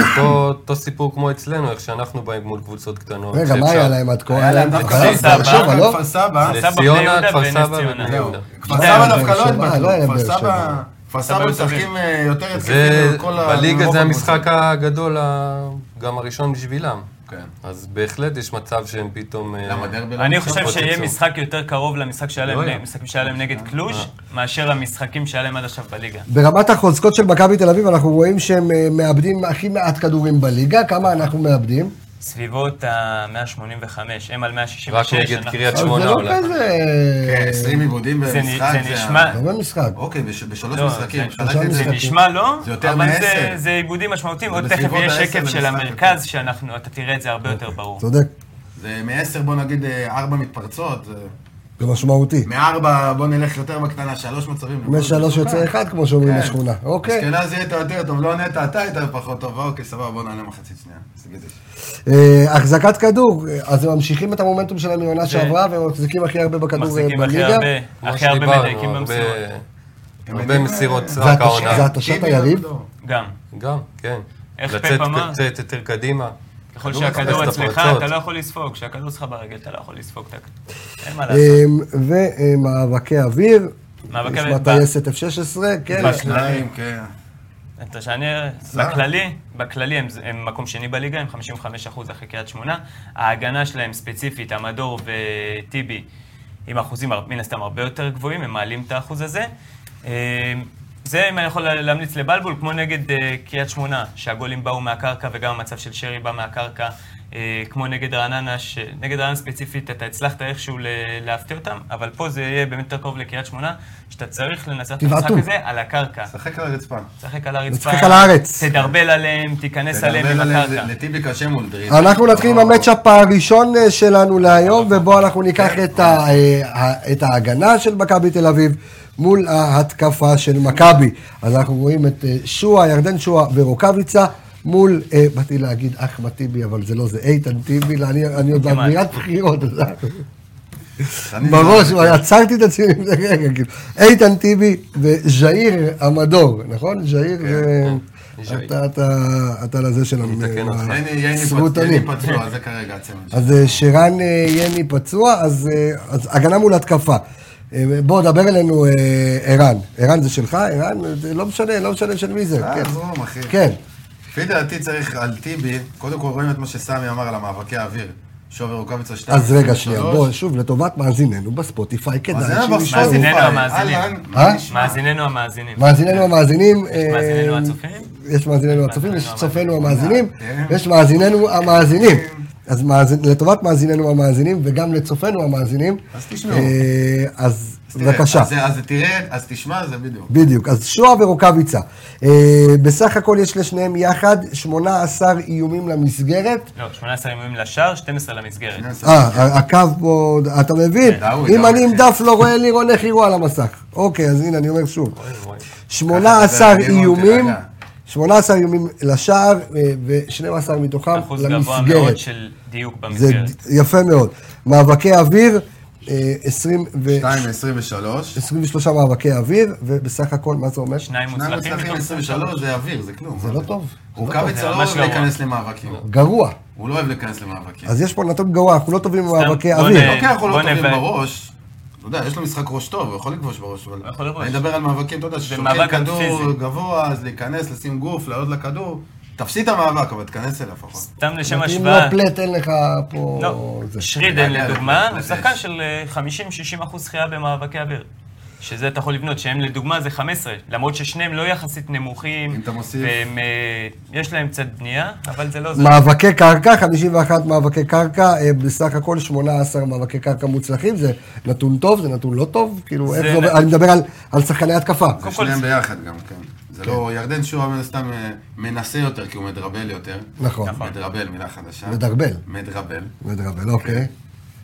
S4: אותו- אותו סיפור כמו אצלנו, איך שאנחנו באים מול קבוצות קטנות.
S1: רגע, מה
S4: שאפשר-
S1: היה להם עד כה?
S2: היה להם
S1: את
S2: דווקא
S1: באר
S3: סבא.
S1: שבע, לא?
S2: כפר סבא.
S4: נס
S3: סבא, בני
S4: ציונה,
S3: יהודה
S4: כפר
S3: ונס
S4: סבא
S3: ציונה.
S4: ובני
S2: זהו.
S4: יהודה.
S2: כפר
S1: לא היה
S2: סבא
S1: להם
S2: דווקא לא
S1: באר שבע, לא היה
S2: התבטלו,
S1: להם
S2: כפר
S1: באר
S2: סבא...
S1: שבע.
S2: כפר
S3: סבא
S2: סבא משחקים אה, יותר
S4: זה,
S2: התקפים
S1: כאילו,
S2: מכל ה-
S4: בליגה
S2: רוב
S4: זה
S2: הקבוצות.
S4: המשחק הגדול, ה- גם הראשון בשבילם.
S2: כן.
S4: אז בהחלט יש מצב שהם פתאום... אה,
S2: למה דרבי לא
S3: אני
S2: משחק?
S3: חושב שיהיה
S4: פוצצו.
S3: משחק יותר קרוב למשחק שהיה
S4: לא
S3: להם-
S4: היה.
S3: למשחקים שהיה להם
S2: אה.
S3: נגד קלוז', מאשר למשחקים שהיה להם עד עכשיו בליגה.
S1: ברמת החוזקות של מכבי תל אביב, אנחנו רואים שהם אה, מאבדים הכי מעט כדורים בליגה. כמה אנחנו מאבדים?
S3: סביבות ה-185, הם על 166.
S4: רק נגד
S3: אנחנו-
S4: קריית
S1: אבל זה
S4: שמונה
S1: לא
S4: אולי.
S1: כזה...
S2: כן, 20 עיבודים
S3: זה נ-
S2: במשחק.
S3: זה נשמע-
S1: הרבה משחק.
S2: אוקיי, בש- בשלוש
S3: לא,
S2: משחקים.
S3: זה-
S2: חלקתי
S1: שלושה
S2: את זה
S3: זה
S1: משחקים.
S3: נשמע לא,
S2: זה יותר
S3: אבל
S2: מעשר.
S3: זה- זה עיבודים משמעותיים, עוד תכף
S2: בסביבות
S3: יהיה
S2: העשר
S3: שקף
S2: במשחק
S3: של
S2: יותר.
S3: המרכז, שאנחנו, אתה תראה את זה הרבה יותר ברור.
S1: צודק,
S2: זה מ-10 בוא נגיד 4 מתפרצות, אה,
S1: זה משמעותי.
S2: מ-4 בוא נלך יותר בקטנה, 3 מצבים.
S1: חמש שלוש יוצא אחד, כמו שאומרים
S3: כן.
S1: בשכונה. אוקיי.
S2: אשכנזי הייתה יותר טוב, לא נטע, אתה היית פחות טוב, אוקיי, סבבה, בוא נעלה מחצית שנייה. זה גדל.
S3: כן.
S1: אה, החזקת כדור, אה, אז הם ממשיכים את המומנטום שלהם מעונה שעברה, והם מחזיקים הכי הרבה בכדור אה,
S3: כן. מחזיקים הכי
S1: בליגה.
S3: הרבה,
S4: כמו
S3: הכי הרבה
S4: שדיברנו,
S3: מדייקים
S4: הרבה-
S3: במסירות.
S4: הרבה מסירות
S1: זה
S4: סרק
S1: התש- זה
S4: העונה.
S1: התשת
S2: טיבי
S1: היריב.
S2: לא.
S3: גם.
S4: גם, כן.
S3: איך
S4: לצאת
S3: פפ אמר?
S4: לצאת יותר קדימה.
S3: ככל
S4: כדור
S3: שהכדור
S4: מחפש את
S3: אצלך,
S4: הפרצות.
S3: אתה לא יכול לספוג. כשהכדור אצלך ברגל, אתה לא יכול לספוג. אתה- אין מה לעשות.
S1: אה, ומאבקי אוויר.
S3: מאבקי
S1: יש
S3: אוויר.
S1: מהטייסת F-16, כן.
S3: בש-
S2: שניים, כן.
S3: אתה שאני, בכללי, בכללי הם, הם מקום שני בליגה, הם 55% אחרי קריית שמונה. ההגנה שלהם ספציפית, המדור וטיבי, עם אחוזים הר- מן הסתם הרבה יותר גבוהים, הם מעלים את האחוז הזה. אה, זה אם אני יכול לה- להמליץ לבלבול, כמו נגד אה, קריית שמונה, שהגולים באו מהקרקע וגם המצב של שרי בא מהקרקע, אה, כמו נגד רעננה, ש... נגד רעננה ספציפית אתה הצלחת איכשהו ל... להפתיע אותם, אבל פה זה יהיה באמת יותר קרוב לקריית שמונה, שאתה צריך לנצח את המשחק
S1: תבעטו.
S3: הזה על הקרקע.
S2: שחק על הרצפה.
S3: תשחק על הרצפה.
S1: תשחק על הארץ.
S3: תדרבל עליהם, תיכנס עליהם עם
S2: ולדבר עליהם,
S3: הקרקע.
S2: זה- לטיבי קשה מול דריב.
S1: אנחנו נתחיל עם המצ'אפ הראשון אה, שלנו להיום, ובו אנחנו ניקח את ה- אה, ה- את ההגנה של מכבי תל אביב מול ההתקפה של מכבי. אז אנחנו רואים את אה, שועה, ירדן שועה ורוקאביצה. מול, אה, באתי להגיד אחמד טיבי, אבל זה לא זה, איתן טיבי, לא, אני אני עוד
S3: כמעט.
S1: באווירת בחירות, אתה יודע.
S2: אני- לא-
S1: בראש, הוא היה- עצרתי את עצמי עם זה רגע, כאילו. איתן טיבי וז'איר המדור, נכון? ז'איר זה...
S4: ז'איר.
S1: אתה- אתה- אתה לזה של
S4: מתקן אותך.
S2: יני- יני פצ-
S1: הסרוטונים.
S2: יני פצוע, זה כרגע הצמד. שלו.
S1: אז אה, שרן אה, יני פצוע, אז אה, אז הגנה מול התקפה. אה, בוא, דבר אלינו, אה, ערן. ערן זה שלך, ערן? זה לא משנה, לא משנה של מי זה.
S2: אה,
S1: כן.
S2: זרום, אחי.
S1: כן.
S2: לפי דעתי צריך על טיבי, קודם כל רואים את מה שסמי אמר על המאבקי האוויר. שובר רוקאביצה שתיים.
S1: אז רגע, שנייה,
S2: שלוש.
S1: בוא, שוב, לטובת מאזיננו בספוטיפיי, כדאי
S2: מאזיננו
S1: שהוא
S2: בספוטיפיי.
S1: ישמעו.
S3: מאזיננו
S2: אהלן,
S3: המאזינים.
S2: אה, מה
S1: אה?
S2: נשמע?
S3: מאזיננו המאזינים.
S1: מאזיננו המאזינים, אה,
S3: מאזיננו הצופים? אה,
S1: יש מאזיננו הצופים, יש צופינו המאזינים,
S2: כן.
S1: יש מאזיננו המאזינים.
S2: אה.
S1: אז מאזין- לטובת מאזיננו המאזינים, וגם לצופינו המאזינים.
S2: אז תשמעו.
S1: אה, אז
S2: תראה,
S1: בבקשה.
S2: אז זה- אז תראה, אז תשמע, זה בדיוק.
S1: בדיוק, אז שועה ורוקאביצה. אה, בסך הכל יש לשניהם יחד 18 איומים למסגרת.
S3: לא, 18 איומים לשער, 12 למסגרת.
S1: אה, הקו פה, אתה מבין?
S3: כן,
S2: דאוי,
S1: אם
S2: דאוי.
S1: אני עם דף לא רואה לירון איך יראו על המסך. אוקיי, אז הנה, אני אומר שוב.
S4: רואים.
S1: 18
S2: לירון,
S1: איומים,
S2: תירגע.
S1: 18 איומים לשער, אה, ו-12 מתוכם
S3: אחוז גבוה
S1: למסגרת.
S3: מאוד של דיוק
S1: זה
S3: במסגרת.
S1: ד- יפה מאוד. מאבקי אוויר, אה, 20 ו-
S2: 2 מ-23.
S1: 23 מאבקי אוויר, ובסך הכל, מה זה אומר?
S3: שניים
S2: שניים
S3: מוצלחים.
S2: מצלחים
S3: מתוך
S2: 23 זה אוויר, זה כלום.
S1: זה לא טוב.
S2: רוקאביצה
S3: זה
S2: לא
S3: ממש
S2: אוהב
S3: גרוע.
S2: להיכנס למאבקים.
S1: גרוע.
S2: הוא לא אוהב להיכנס למאבקים.
S1: אז יש פה נתון גרוע, אנחנו לא טובים
S3: סתם,
S1: במאבקי
S3: בוא
S1: אוויר.
S3: נ-
S2: אוקיי, אנחנו
S3: אה, בוא
S2: לא טובים
S3: נבד-
S2: בראש. אתה יודע, יש לו משחק ראש טוב, הוא יכול לכבוש בראש, אבל...
S3: יכול לכבוש.
S2: אני מדבר על מאבקים, אתה יודע, ששולחים
S3: מאבק גם
S2: כדור
S3: פיזי.
S2: גבוה, אז להיכנס, לשים גוף, לעלות לכדור. תפסיד את המאבק, אבל תיכנס אליו לפחות.
S3: סתם לשם
S1: אם
S3: השוואה.
S1: לפלט אין לך פה...
S3: לא,
S1: זה.
S3: שרידן
S2: יעלה
S3: לדוגמה,
S2: עליו,
S3: הוא
S2: זה
S3: שחקן
S2: יש.
S3: של אה, 50-60 אחוז זכייה במאבקי אוויר. שזה אתה יכול לבנות, שהם לדוגמה זה 15, למרות ששניהם לא יחסית נמוכים,
S2: אם אתה מוסיף-
S3: והם, אה, יש להם קצת בנייה, אבל זה לא זה.
S1: מאבקי קרקע, 51 מאבקי קרקע, אה, בסך הכל 18 מאבקי קרקע מוצלחים, זה נתון טוב, זה נתון לא טוב, כאילו,
S3: זה
S1: איך זה עובד?
S3: נ-
S1: אני מדבר על- על שחקני התקפה.
S2: זה
S3: קודם כל
S2: שניהם
S3: זה-
S2: ביחד גם, כן. זה לא, ירדן שועה מן הסתם אה, מנסה יותר, כי הוא מדרבל יותר.
S1: נכון.
S2: מדרבל, מילה חדשה.
S1: מדרבל.
S2: מדרבל.
S1: מדרבל, אוקיי.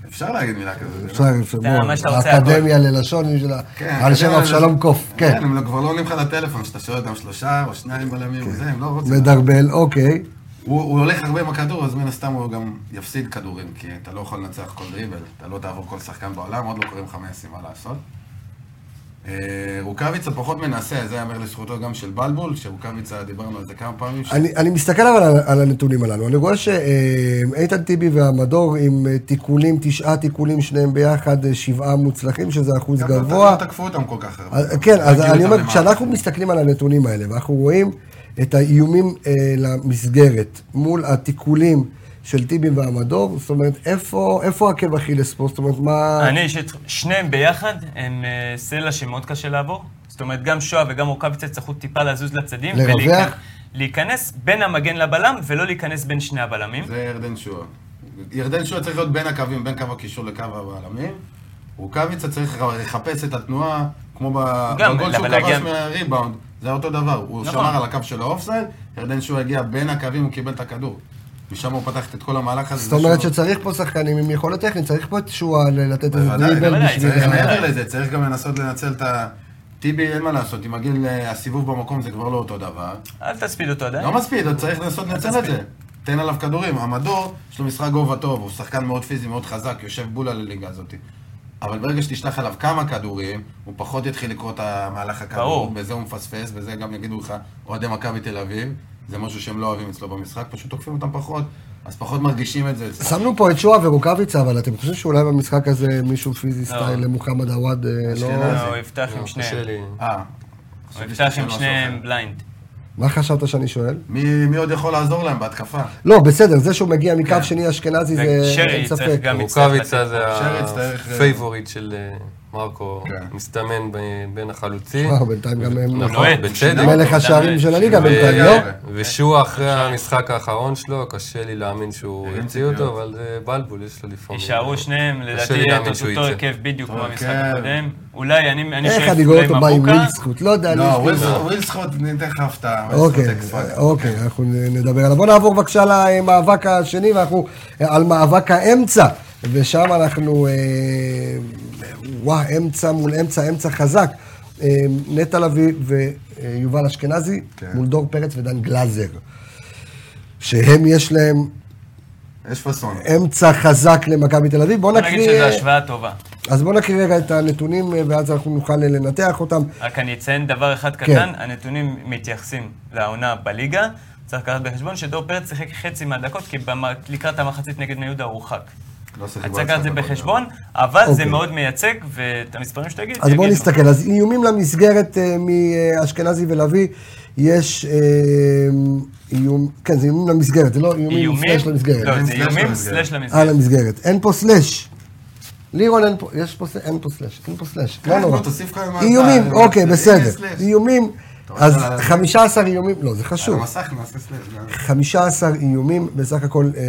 S2: אפשר להגיד מילה כזאת. זה לא?
S1: אפשר, אפשר,
S3: אתה,
S1: בוא,
S3: מה שאתה רוצה,
S1: האקדמיה ללשון של ה... על שם
S2: כן, אקדמיה
S1: אבשלום
S2: לזה.
S1: קוף, כן.
S2: כן, הם לא- כבר לא עונים לך לטלפון, שאתה שואל אותם שלושה או שניים
S1: כן.
S2: בלמים, וזה, הם לא רוצים.
S1: מדרבל, אוקיי.
S2: הוא הוא הולך הרבה עם הכדור, אז מן הסתם הוא גם יפסיד כדורים, כי אתה לא יכול לנצח כל דריבל, אתה לא תעבור כל שחקן בעולם, עוד לא קוראים לך מסי, מה לעשות. אה, רוקאביצה פחות מנסה, זה יאמר לזכותו גם של בלבול, שרוקאביצה, דיברנו על זה כמה פעמים. ש-
S1: אני, אני מסתכל אבל על, על הנתונים הללו, אני רואה שאיתן טיבי והמדור עם אה, תיקולים, תשעה תיקולים, שניהם ביחד, אה, שבעה מוצלחים, שזה אחוז
S2: גם
S1: גבוה.
S2: לא תקפו אותם כל כך הרבה.
S1: אז- כן, אז
S2: הגיעו
S1: אני
S2: איתם
S1: אומר,
S2: למעלה.
S1: כשאנחנו מסתכלים על הנתונים האלה, ואנחנו רואים את האיומים אה, למסגרת מול התיקולים של טיבי והמדור, זאת אומרת, איפה, איפה עקב אכילס פה? זאת אומרת, מה...
S3: אני אישית, שניהם ביחד הם אה, סלע שמאוד קשה לעבור. זאת אומרת, גם שואה וגם רוקאביצה יצטרכו טיפה לזוז לצדדים.
S1: לרווח.
S3: ולהיכנס- להיכנס בין המגן לבלם, ולא להיכנס בין שני הבלמים.
S2: זה ירדן שועה. ירדן שועה צריך להיות בין הקווים, בין קו הקישור לקו הבלמים. רוקאביצה צריך לחפש את התנועה, כמו ב-
S3: גם,
S2: בגול שהוא
S3: אבל
S2: כבש
S3: להגיע-
S2: מהריבאונד, זה היה אותו דבר. הוא
S3: נכון.
S2: שמר על הקו של האופסייד, ירדן שועה הגיע בין הקווים, הוא קיבל את הכדור. משם הוא פתח את כל המהלך הזה.
S1: זאת אומרת
S2: שהוא-
S1: שצריך פה שחקנים עם יכולת טכנית, צריך פה את שועה ל- לתת איזה
S2: בוודאי,
S1: דריבל
S3: בוודאי,
S1: בשביל...
S2: צריך
S3: בוודאי.
S2: מעבר לזה, צריך גם לנסות לנצל את ה... טיבי, אין מה לעשות, עם הגיל, אה, הסיבוב במקום זה כבר לא אותו דבר.
S3: אל תספיד אותו עדיין.
S2: לא מספיד, עוד צריך לנסות לנצל את זה. תן עליו כדורים. המדור, יש לו משחק גובה טוב, הוא שחקן מאוד פיזי, מאוד חזק, יושב בול על הליגה הזאת. אבל ברגע שתשלח עליו כמה כדורים, הוא פחות יתחיל לקרוא את המהלך הכדור,
S3: ברור.
S2: בזה הוא מפספס, בזה גם יגידו לך, אוהדי מכבי תל אביב, זה משהו שהם לא אוהבים אצלו במשחק, פשוט תוקפים אותם פחות, אז פחות מרגישים את זה אצלו.
S1: שמנו פה את שועה ורוקאביצה, אבל אתם חושבים שאולי במשחק הזה מישהו פיזי
S3: לא.
S1: סטייל מוחמד עוואד אה, לא...
S2: השאלה-
S3: לא, הוא יפתח עם
S4: קשה
S3: שניהם.
S4: לי.
S2: אה.
S3: הוא
S2: חשבתי
S3: יפתח
S2: שאתה שואל
S3: עם
S2: משהו
S3: שניהם
S2: אחר.
S3: בליינד.
S1: מה חשבת שאני שואל?
S2: מי מי עוד יכול לעזור להם בהתקפה?
S1: לא, בסדר, זה שהוא מגיע מקו שני אשכנזי זה אין
S3: שרי
S1: ספק.
S3: כן. צריך גם יצטרך
S4: רוקאביצה זה
S2: שרי יצטרך, אה,
S4: הפייבוריט של אה, מרקו,
S2: כן.
S4: מסתמן ב- בין החלוצים.
S1: אה, בינתיים גם הם...
S4: נכון,
S3: נועד.
S4: בצדק.
S1: מלך השערים של הליגה
S4: ו-
S1: בינתיים, לא?
S4: ושוע אחרי המשחק האחרון שלו, קשה לי להאמין שהוא
S2: אין
S4: יוציא אותו,
S2: ציפיות.
S4: אבל זה בלבול, יש לו לפעמים.
S3: יישארו שניהם,
S4: קשה לי
S3: לדעתי יהיה את
S4: להאמין שהוא
S3: אותו
S4: יצא.
S3: הרכב בדיוק כמו המשחק
S2: כן.
S3: הקודם. אולי, אני אני
S1: איך
S3: שואף
S1: אני רואה
S3: אולי
S1: אותו בא עם
S3: מבוקה.
S1: ווילסקוט? לא יודע,
S2: לא,
S1: ווילסקוט.
S2: ווילס- ווילסקוט, ניתן לך הפתעה.
S1: אוקיי,
S2: ווילסקוט אקס-פקטור.
S1: אוקיי, אנחנו נדבר עליו. בואו נעבור בבקשה למאבק השני, ואנחנו על מאבק האמצע. ושם אנחנו, אה, וואה, אמצע מול אמצע, אמצע חזק. אה, נטע לביא ויובל אשכנזי
S2: כן.
S1: מול דור פרץ ודן גלאזר. שהם יש להם
S2: יש פאסון.
S1: אמצע חזק למכבי תל אביב. בואו
S3: בוא נגיד שזו
S1: נקריא,
S3: השוואה טובה.
S1: אז בואו נקריא רגע את הנתונים, אה, ואז אנחנו נוכל לנתח אותם.
S3: רק אני אציין
S1: כן.
S3: דבר אחד קטן, הנתונים מתייחסים לעונה בליגה. צריך לקחת בחשבון שדור פרץ שיחק חצי מהדקות, כי במ- לקראת המחצית נגד בני יהודה הוא הורחק.
S2: לא שיחק
S3: אז
S2: בעשר
S3: צריך לקחת את זה
S2: דקות,
S3: בחשבון, אבל זה
S1: אוקיי.
S3: מאוד מייצג, ואת המספרים שתגיד,
S1: אז בואו
S3: יגידו.
S1: נסתכל. אז איומים למסגרת אה, מאשכנזי ולביא, יש אה, איום, כן, זה איומים למסגרת, זה לא איומים
S3: איומים?
S1: סלאש למסגרת.
S3: לא, זה
S2: סלאש
S3: איומים
S2: למסגרת.
S3: סלאש
S1: אה,
S3: למסגרת.
S1: למסגרת. אין פה סלאש. לירון אין פה, יש פה, סלאש, אין פה סלאש, אין פה סלאש,
S2: כן,
S1: לא
S2: בוא,
S1: נורא.
S2: תוסיף כמה-
S1: איומים,
S2: אה,
S1: אוקיי,
S2: אה,
S1: בסדר.
S2: סלאש.
S1: איומים,
S2: רוצה
S1: אז
S2: על ה-
S1: 15 איומים, לא, זה חשוב.
S2: על המסך נעשה סלאב. גם.
S1: 15 איומים, בסך הכל אה,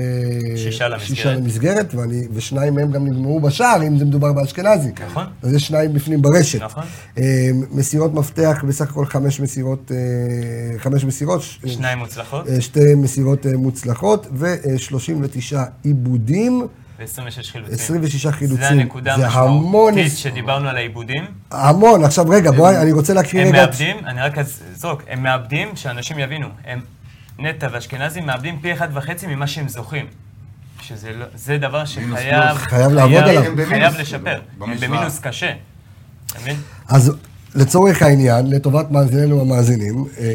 S3: שישה למסגרת.
S1: שישה למסגרת, ואני, ושניים מהם גם נגמרו בשער, אם זה מדובר באשכנזי.
S3: נכון.
S1: אז יש שניים בפנים ברשת.
S3: נכון.
S1: אה, מסירות מפתח, בסך הכל חמש מסירות, אה, חמש מסירות. ש-
S3: שניים מוצלחות,
S1: אה, שתי מסירות אה, מוצלחות, ו-39 עיבודים.
S3: ו-26 חילוצים.
S1: 26 חילוצים.
S3: זה הנקודה
S1: זה המון
S3: המשמעותית
S1: ניס-
S3: שדיברנו על העיבודים.
S1: המון, עכשיו רגע, בואי, אני רוצה להקריא
S3: הם
S1: רגע. את-
S3: מאבדים, אני רק אזרוק, הם מאבדים, שאנשים יבינו, הם, נטע ואשכנזי מאבדים פי אחד וחצי ממה שהם זוכים. שזה לא, זה דבר
S2: מינוס,
S3: שחייב,
S2: מינוס.
S1: חייב לעבוד עליו.
S2: הם במינוס,
S3: חייב
S2: כאילו,
S3: לשפר. הם
S2: במשוואה.
S3: במינוס קשה. אתה מבין?
S1: אז לצורך העניין, לטובת מאזיננו המאזינים, אה,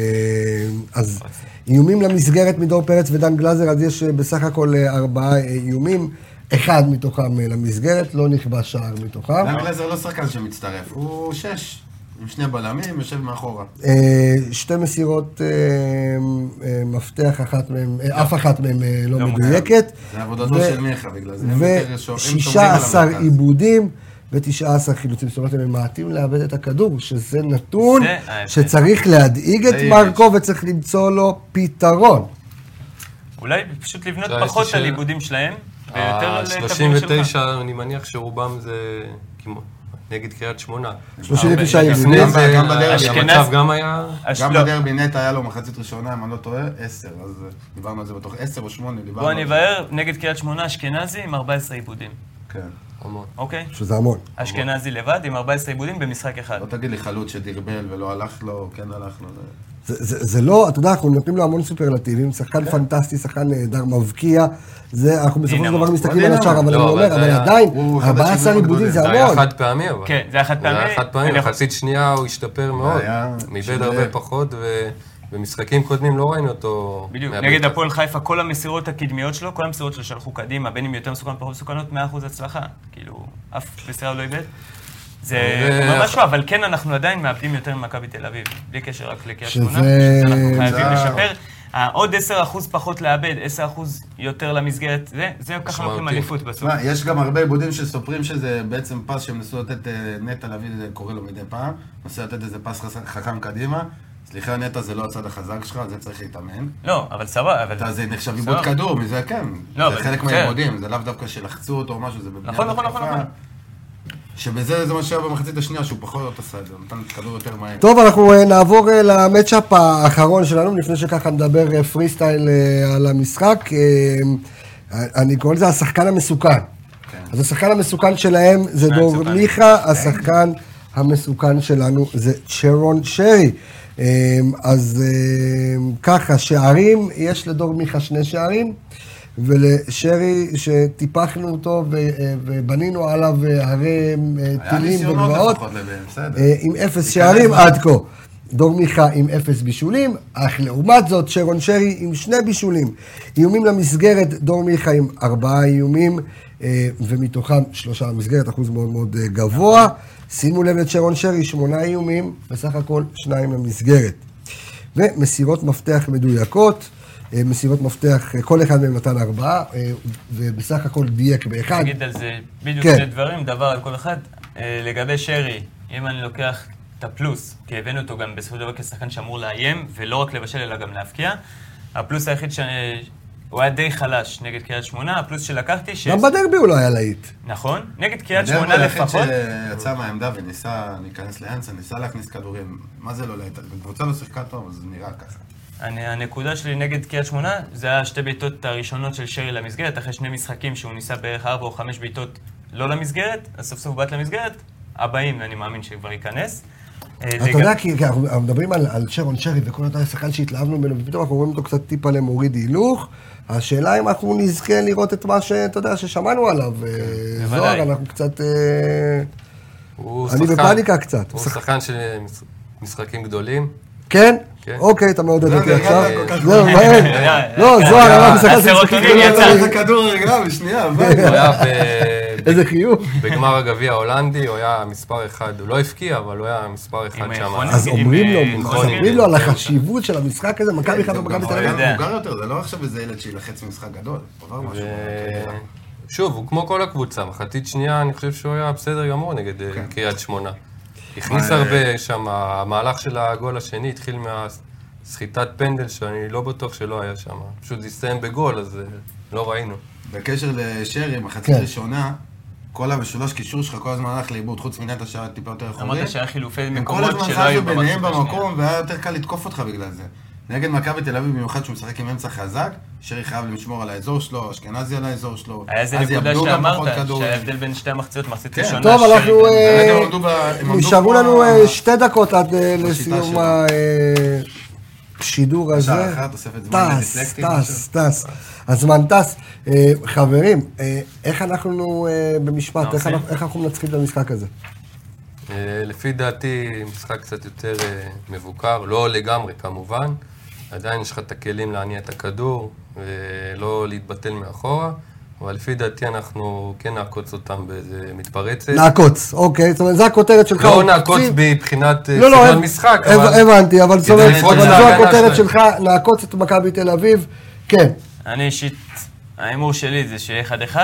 S1: אז איומים למסגרת מדור פרץ ודן גלזר, אז יש אה, בסך הכל אה, ארבעה אה, איומים, אחד מתוכם אה, למסגרת, לא נכבש שער מתוכם.
S2: דן גלזר לא שחקן שמצטרף, הוא שש. עם שני בלמים, יושב מאחורה.
S1: אה, שתי מסירות אה, אה, מפתח, אחת מהם, אה, אף אחת מהן אה, לא
S3: לא
S1: מדויקת.
S2: זה עבודתו
S1: ו-
S2: של מיכה בגלל זה. הם יותר שו- הם שומרים על
S1: ו-16
S2: המרכז.
S1: עיבודים ו-19 חילוצים. זאת אומרת, הם ממעטים לאבד את הכדור, שזה נתון
S3: זה ההבדל.
S1: שצריך להדאיג את
S2: זה
S1: מרקו וצריך למצוא לו פתרון.
S3: אולי פשוט לבנות
S4: שאלה, יש לי
S3: פחות על
S4: שאלה.
S3: עיבודים שלהם, ויותר על כדורים שלך.
S4: ה-39, אני מניח שרובם זה כמו- נגד קריית שמונה.
S1: 39
S3: גם
S1: עיבודים.
S4: לפני זה,
S2: גם בדרבי,
S4: המצב
S3: אשכנז-
S4: גם היה...
S3: הש-
S2: גם
S3: לא,
S2: בדרבי נטע היה לו מחצית ראשונה, אם אני לא טועה, עשר, אז אה, דיברנו על זה בתוך עשר או שמונה, דיברנו
S3: בוא
S2: על זה.
S3: נבהר, נגד קריית שמונה אשכנזי עם 14 עיבודים,
S2: כן.
S4: המון.
S3: אוקיי?
S1: שזה המון.
S3: אשכנזי לבד עם 14 עיבודים במשחק אחד.
S2: לא תגיד לי חלוץ שדרבל ולא הלך לו, כן הלך לו. זה-
S1: זה, זה, זה לא, אתה יודע, אנחנו נותנים לו המון סופרלטיבים, שחקן פנטסטי, שחקן נהדר, מבקיע, זה, אנחנו בסופו של
S3: דינמו.
S1: דבר מסתכלים
S2: הוא
S1: על השאר,
S2: דינמו.
S1: אבל
S4: לא,
S1: אני
S4: אבל
S1: אומר,
S4: זה
S1: אבל
S4: היה-
S1: עדיין,
S2: הוא אחד
S1: 14
S2: השינויים
S1: עיבודים זה
S4: זה לא, היה
S1: המון.
S4: חד פעמי אבל.
S3: כן, זה היה חד
S4: זה
S3: פעמי.
S4: היה חד פעמי,
S3: אני יכול-
S4: מחצית שנייה הוא השתפר מאוד.
S2: היה-
S4: הוא איבד
S2: שזה-
S4: הרבה פחות, ובמשחקים קודמים לא ראינו אותו...
S3: בדיוק,
S4: מאבד
S3: נגד
S4: את
S3: הפועל חיפה, כל המסירות הקדמיות שלו, כל המסירות שלו שהלכו קדימה, בין אם יותר מסוכנות, פחות מסוכנות, 100% הצלחה. כאילו, אף מסירה לא איבד. זה
S4: ו-
S3: אומר משהו, אבל כן, אנחנו עדיין מאבדים יותר ממכבי תל אביב, בלי קשר רק לקריית
S1: שזה-
S3: שמונה, שזה אנחנו חייבים
S2: זה-
S3: לשפר. העוד 10% פחות לאבד, 10% יותר למסגרת, זה, זה ככה נותנים
S4: משמעותי.
S3: אליפות בסוף.
S2: תשמע, יש גם הרבה עיבודים שסופרים שזה בעצם פס שהם ניסו לתת אה, נטע לביא, זה קורה לו מדי פעם, ניסו לתת איזה פס חס- חכם קדימה. סליחה, נטע זה לא הצד החזק שלך, על זה צריך להתאמן.
S3: לא, אבל סבבה, אבל...
S2: אתה זה נחשב
S3: סבבה.
S2: עיבוד כדור, מזה כן.
S3: לא,
S2: זה
S3: אבל
S2: חלק
S3: בסדר.
S2: מהעיבודים, זה לאו דווקא שלחצו אותו או משהו, זה בבניית
S3: נכון, נכון, נכון,
S2: התקפה.
S3: נכון.
S2: שבזה זה מה שהיה במחצית השנייה, שהוא פחות עשה את זה, נתן את הכדור יותר מהר.
S1: טוב, אנחנו אה, נעבור אה, למצ'אפ האחרון שלנו, לפני שככה נדבר אה, פרי סטייל אה, על המשחק. אה, אני קורא לזה השחקן המסוכן.
S2: כן.
S1: אז השחקן המסוכן שלהם זה דור
S3: מסוכן.
S1: מיכה, השחקן המסוכן שלנו זה צ'רון שרי. אה, אז אה, ככה, שערים, יש לדור מיכה שני שערים, ולשרי שטיפחנו אותו ו- אה, ובנינו עליו אה, הרי אה,
S2: היה
S1: טילים
S2: ניסיונות
S1: וגבעות.
S2: לפחות לבן, בסדר.
S1: אה, עם אפס שערים עד כה. דור מיכה עם אפס בישולים, אך לעומת זאת שרון שרי עם שני בישולים. איומים למסגרת, דור מיכה עם ארבעה איומים, אה, ומתוכם שלושה למסגרת, אחוז מאוד מאוד אה, גבוה. שימו לב את שרון שרי, שמונה איומים, בסך הכל שניים למסגרת. ומסירות מפתח מדויקות, אה, מסירות מפתח, אה, כל אחד מהם נתן ארבעה, אה, ובסך הכל דייק באחד.
S3: נגיד על זה בדיוק
S1: כן.
S3: שני דברים, דבר על כל אחד. אה, לגבי שרי, אם אני לוקח את הפלוס, כי הבאנו אותו גם בסופו של דבר כשחקן שאמור לאיים, ולא רק לבשל אלא גם להבקיע, הפלוס היחיד ש... אה, הוא היה די חלש נגד קריית שמונה, הפלוס שלקחתי ש...
S1: גם בדרבי הוא לא היה להיט.
S3: נכון, נגד קריית
S2: בדרך כלל
S3: שמונה לפחות.
S2: היחיד שיצא מהעמדה וניסה להיכנס לאנסה, ניסה להכניס כדורים. מה זה לא להיט? הקבוצה לא שיחקה טוב, אז זה נראה ככה.
S3: אני, הנקודה שלי נגד קריית שמונה, זה היה שתי בעיטות הראשונות של שרי למסגרת, אחרי שני משחקים שהוא ניסה בערך ארבע או חמש בעיטות לא למסגרת, אז סוף סוף באת למסגרת, הבאים, אני מאמין שכבר ייכנס. אה,
S1: אתה
S3: לגב-
S1: יודע, כי כי אנחנו אנחנו מדברים על, על שרון שרי וכל אותה שחקן שהתלהבנו ממנו, ופתאום אנחנו רואים אותו קצת טיפה למוריד הילוך. השאלה אם אנחנו נזכה לראות את מה שאתה יודע, ששמענו עליו. אה, זוהר,
S2: כן,
S3: בוודאי.
S1: אנחנו קצת... אה,
S4: הוא
S1: אני
S4: שחקן-
S1: בפאניקה קצת.
S4: הוא שחקן של מש- משחקים גדולים.
S1: כן?
S4: כן.
S1: אוקיי, אתה מעודד
S2: לא,
S1: אותי
S2: לא,
S1: עכשיו.
S2: לא, כל כך
S1: זהו, מהר.
S3: אה,
S1: לא,
S3: אה,
S1: זוהר,
S3: אה,
S1: אמרנו שחקן של
S2: לא,
S3: הסרוטונין
S1: משחקים
S3: יצא.
S1: גדולים.
S2: את הכדור רגליו, שנייה,
S4: הוא
S2: אבל...
S4: היה ב-
S1: איזה חיוך.
S4: בגמר הגביע ההולנדי, הוא היה מספר אחד, הוא לא הבקיע, אבל הוא היה מספר אחד
S3: עם
S4: שם.
S3: היכולת.
S1: אז
S3: עם,
S1: אומרים
S3: אה,
S1: לו, אז
S4: נכון.
S1: אומרים לו על החשיבות של המשחק הזה, מכבי חיפה ומכבי תל
S2: הוא
S1: אביב.
S3: יודע.
S2: היה מבוגר יותר, זה לא עכשיו איזה ילד שילחץ משחק גדול. הוא עבר משהו. בקריירה.
S4: שוב, הוא כמו כל הקבוצה, מחצית שנייה, אני חושב שהוא היה בסדר גמור נגד אה, קריית שמונה. הכניס
S2: אה,
S4: הרבה שם, המהלך של הגול השני התחיל מהסחיטת פנדל, שאני לא בטוח שלא היה שם. פשוט זה הסתיים בגול, אז אה, לא ראינו.
S2: בקשר לשרי, מחצית
S1: כן.
S2: ראשונה, כל המשולש קישור שלך כל הזמן הלך לאיבוד, חוץ מנטע שהיה טיפה יותר אחורי.
S3: אמרת שהיה חילופי
S2: הם כל
S3: מקומות
S2: הזמן
S3: שלא היו
S2: זזו
S3: במחצית
S2: ביניהם
S3: השנייה.
S2: במקום, והיה יותר קל לתקוף אותך בגלל זה. נגד מכבי תל אביב, במיוחד שהוא משחק עם אמצע חזק, שרי חייב לשמור על האזור שלו, אשכנזי על האזור שלו.
S3: היה איזה
S2: אז
S3: נקודה
S2: יאבדו גם פחות
S3: שאמרת,
S2: כדורים.
S3: שההבדל בין שתי המחציות, מחצית
S2: כן.
S3: ראשונה.
S1: טוב,
S3: שרי
S1: אנחנו,
S3: גם-
S1: אה,
S2: כרגע הם עמדו ב- הם עמדו
S1: נשארו
S2: כמו-
S1: לנו אה, שתי דקות עד אה,
S2: בשיטה
S1: לסיום
S2: שלו.
S1: השידור הזה.
S2: שעה אחת, תוספת זמן
S1: טס,
S2: לדיסלקטים,
S1: טס, טס. הזמן טס. אה, חברים, אה, איך אנחנו אה, במשפט,
S3: מה
S1: איך
S2: אוקיי.
S3: עושים?
S1: אנחנו- איך אנחנו מנצחים את המשחק הזה?
S4: אה, לפי דעתי, משחק קצת יותר אה, מבוקר, לא לגמרי כמובן. עדיין יש לך את הכלים להניע את הכדור, ולא להתבטל מאחורה. אבל לפי דעתי אנחנו כן נעקוץ אותם באיזה מתפרצת.
S2: אה,
S1: נעקוץ, אוקיי, זאת אומרת, זו הכותרת שלך.
S4: לא
S1: עוד
S4: נעקוץ
S1: תקציב.
S4: מבחינת אה,
S1: לא, לא,
S4: סגנון
S1: הב-
S4: משחק,
S1: הב-
S4: אבל...
S1: הבנתי, אבל זאת
S4: כדי
S1: אומרת,
S4: לפרוץ
S1: אבל זו
S4: להגנה
S1: הכותרת
S4: שלהם.
S1: שלך, לעקוץ את מכבי תל אביב, כן.
S3: אני אישית, ההימור שלי זה שיהיה 1-1.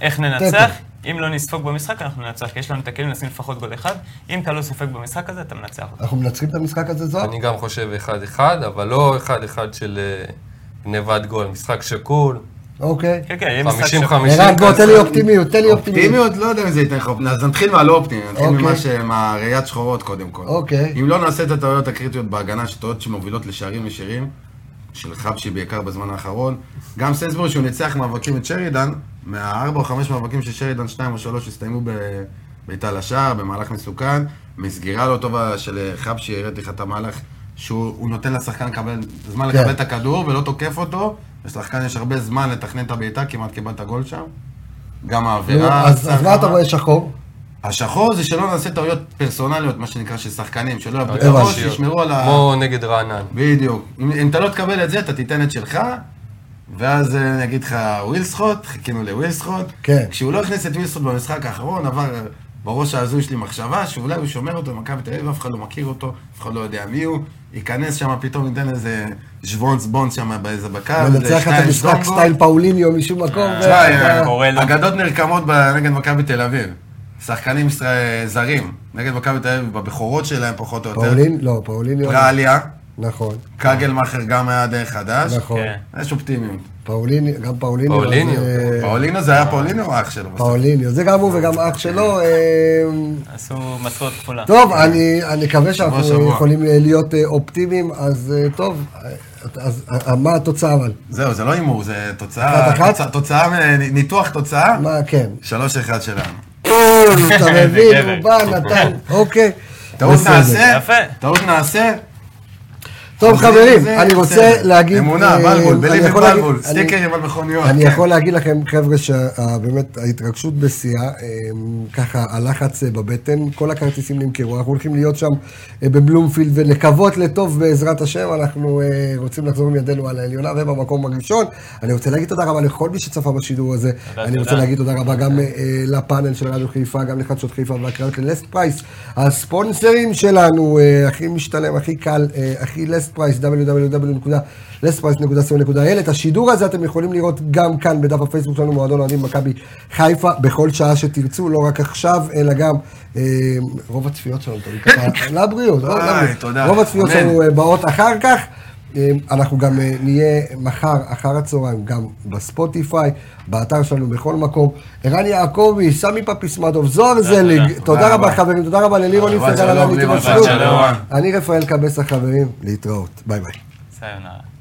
S3: איך ננצח? אם לא נספוג במשחק, אנחנו ננצח, כי יש לנו את הכלים לשים לפחות גול אחד. אם אתה לא סופג במשחק הזה, אתה מנצח אותו.
S1: אנחנו מנצחים את המשחק הזה זו?
S4: אני גם חושב 1-1, אבל לא 1-1 של אה, גנבת גול, משחק שקול,
S1: אוקיי.
S3: כן, כן, יהיה
S4: 50-50.
S3: משחק
S1: ערן, בוא, תן לי
S4: כזה.
S1: אופטימיות, תן לי אופטימיות.
S2: אופטימיות, לא יודע אם זה ייתן לך אופטימיות. אז נתחיל מהלא אופטימיות, נתחיל
S1: אוקיי.
S2: ממה ש... מהראיית שחורות קודם כל.
S1: אוקיי.
S2: אם לא נעשה את הטעויות הקריטיות בהגנה, שטעויות שמובילות לשערים ישירים, של חבשי בעיקר בזמן האחרון, גם סיינסבורי שהוא ניצח מאבקים את שרידן, מהארבע או חמש מאבקים של שרידן, שניים או שלוש הסתיימו בביתה לשער, במהלך מסוכן, מסגירה לא טובה של חבשי, הראיתי לך את המהלך, שהוא הוא נותן לשחקן לקבל, זמן
S1: כן.
S2: לקבל את הכדור ולא תוקף אותו, לשחקן יש הרבה זמן לתכנן את הבעיטה, כמעט קיבלת גול שם. גם
S1: נו,
S2: העבירה...
S1: אז אז מה אתה
S2: סחר.
S1: רואה שחור?
S2: השחור זה שלא נעשה טעויות פרסונליות, מה שנקרא, של שחקנים, שלא יעבדו את
S1: הבנתי.
S2: הראש, ישמרו על ה...
S4: כמו נגד רענן.
S2: בדיוק. אם, אם אתה לא תקבל את זה, אתה תיתן את שלך, ואז אה, אני אגיד לך ווילסחוט, חיכינו לווילסחוט.
S1: כן.
S2: כשהוא לא הכניס את ווילסחוט במשחק האחרון, עבר אה, בראש ההזוי שלי מחשבה, שאולי הוא שומר אותו במכבי תל אביב, אף אחד לא מכיר אותו, אף אחד לא יודע מי הוא, ייכנס שם, פתאום ניתן איזה שוונץ בונד שם באיזה בקו, איזה
S1: מנצח את
S2: שניים
S1: המשחק
S2: זונגו.
S1: סטייל פאוליניו משום מקום. ו-
S2: תשמע,
S3: אה,
S2: אה, אה,
S3: קורה לו.
S2: אגדות נרקמות ב- נגד מכבי תל אביב. שחקנים ישראל- אה, זרים, נגד מכבי תל אביב, בבכורות שלהם פחות או יותר.
S1: פאולין? לא, פאוליניו.
S2: פרליה,
S1: נכון,
S2: כן. קגלמאכר גם היה די חדש.
S1: נכון.
S3: כן.
S2: יש אופטימיות.
S1: פאוליניו, גם פאוליניו.
S4: פאוליניו.
S1: זה-
S2: פאולינו זה היה פאולינו או אח שלו? בסוף?
S1: פאוליניו, זה גם הוא וגם אח שלו. אה,
S3: עשו מטרות כפולה.
S1: טוב, אני, אני מקווה שאנחנו
S2: אה, שבוע.
S1: יכולים להיות אה, אופטימיים, אז אה, טוב, אה, אז אה, מה התוצאה אבל?
S2: זהו, זה לא הימור, זה תוצאה,
S1: אחת, אחת?
S2: תוצאה- תוצאה, מ- ניתוח תוצאה,
S1: מה, כן.
S2: 3-1 שלנו.
S1: אתה מבין,
S3: גבר.
S1: הוא בא, נתן, אוקיי.
S2: טעות
S1: בסדר.
S2: נעשה,
S3: יפה.
S2: טעות נעשה,
S1: טוב,
S2: זה-
S1: חברים,
S2: זה-
S1: אני רוצה
S2: בסדר.
S1: להגיד...
S2: אמונה,
S1: אה,
S2: בלבול,
S1: אני
S2: בלי
S1: יכול להגיד-
S2: בלבול,
S1: אני-
S2: סטיקרים על מכוניות.
S1: אני
S2: כן.
S1: יכול להגיד לכם, חבר'ה, שבאמת ההתרגשות בשיאה, אה, ככה הלחץ אה, בבטן, כל הכרטיסים נמכרו, אנחנו הולכים להיות שם אה, בבלומפילד ולקוות לטוב בעזרת השם, אנחנו אה, רוצים לחזור עם ידינו על העליונה ובמקום הראשון. אני רוצה להגיד תודה רבה לכל מי שצפה בשידור הזה. אני רוצה
S3: תודה.
S1: להגיד תודה רבה גם אה, לפאנל של רדיו חיפה, גם לחדשות חיפה והקרנות ללסט פרייס, הספונסרים שלנו, אה, הכי משתלם, הכי קל, אה, הכי לסט פרייס, www.lסטפרייס.co.il. את השידור הזה אתם יכולים לראות גם כאן בדף הפייסבוק שלנו, מועדון אוהדים מכבי חיפה, בכל שעה שתרצו, לא רק עכשיו, אלא גם אה, רוב הצפיות שלנו, תמיד ככה, לבריאות, רוב-
S2: איי,
S1: לבריאות.
S2: כן. תודה.
S1: רוב הצפיות
S2: אמן.
S1: שלנו אה, באות אחר כך. אה, אנחנו גם אה, נהיה מחר, אחר הצהריים, גם בספוטיפיי, באתר שלנו, בכל מקום. ערן יעקבי, סמי פפיסמדוב, זוהר זליג, תודה
S2: תודה
S1: רבה
S2: רבה.
S1: חברים, תודה רבה ללירון
S2: תודה רבה,
S1: יפתח על
S2: שלום,
S1: הניתוב
S2: לירון,
S1: השלום.
S3: שלום.
S1: אני רפאל קבס החברים, להתראות, ביי ביי.
S3: סייונרה.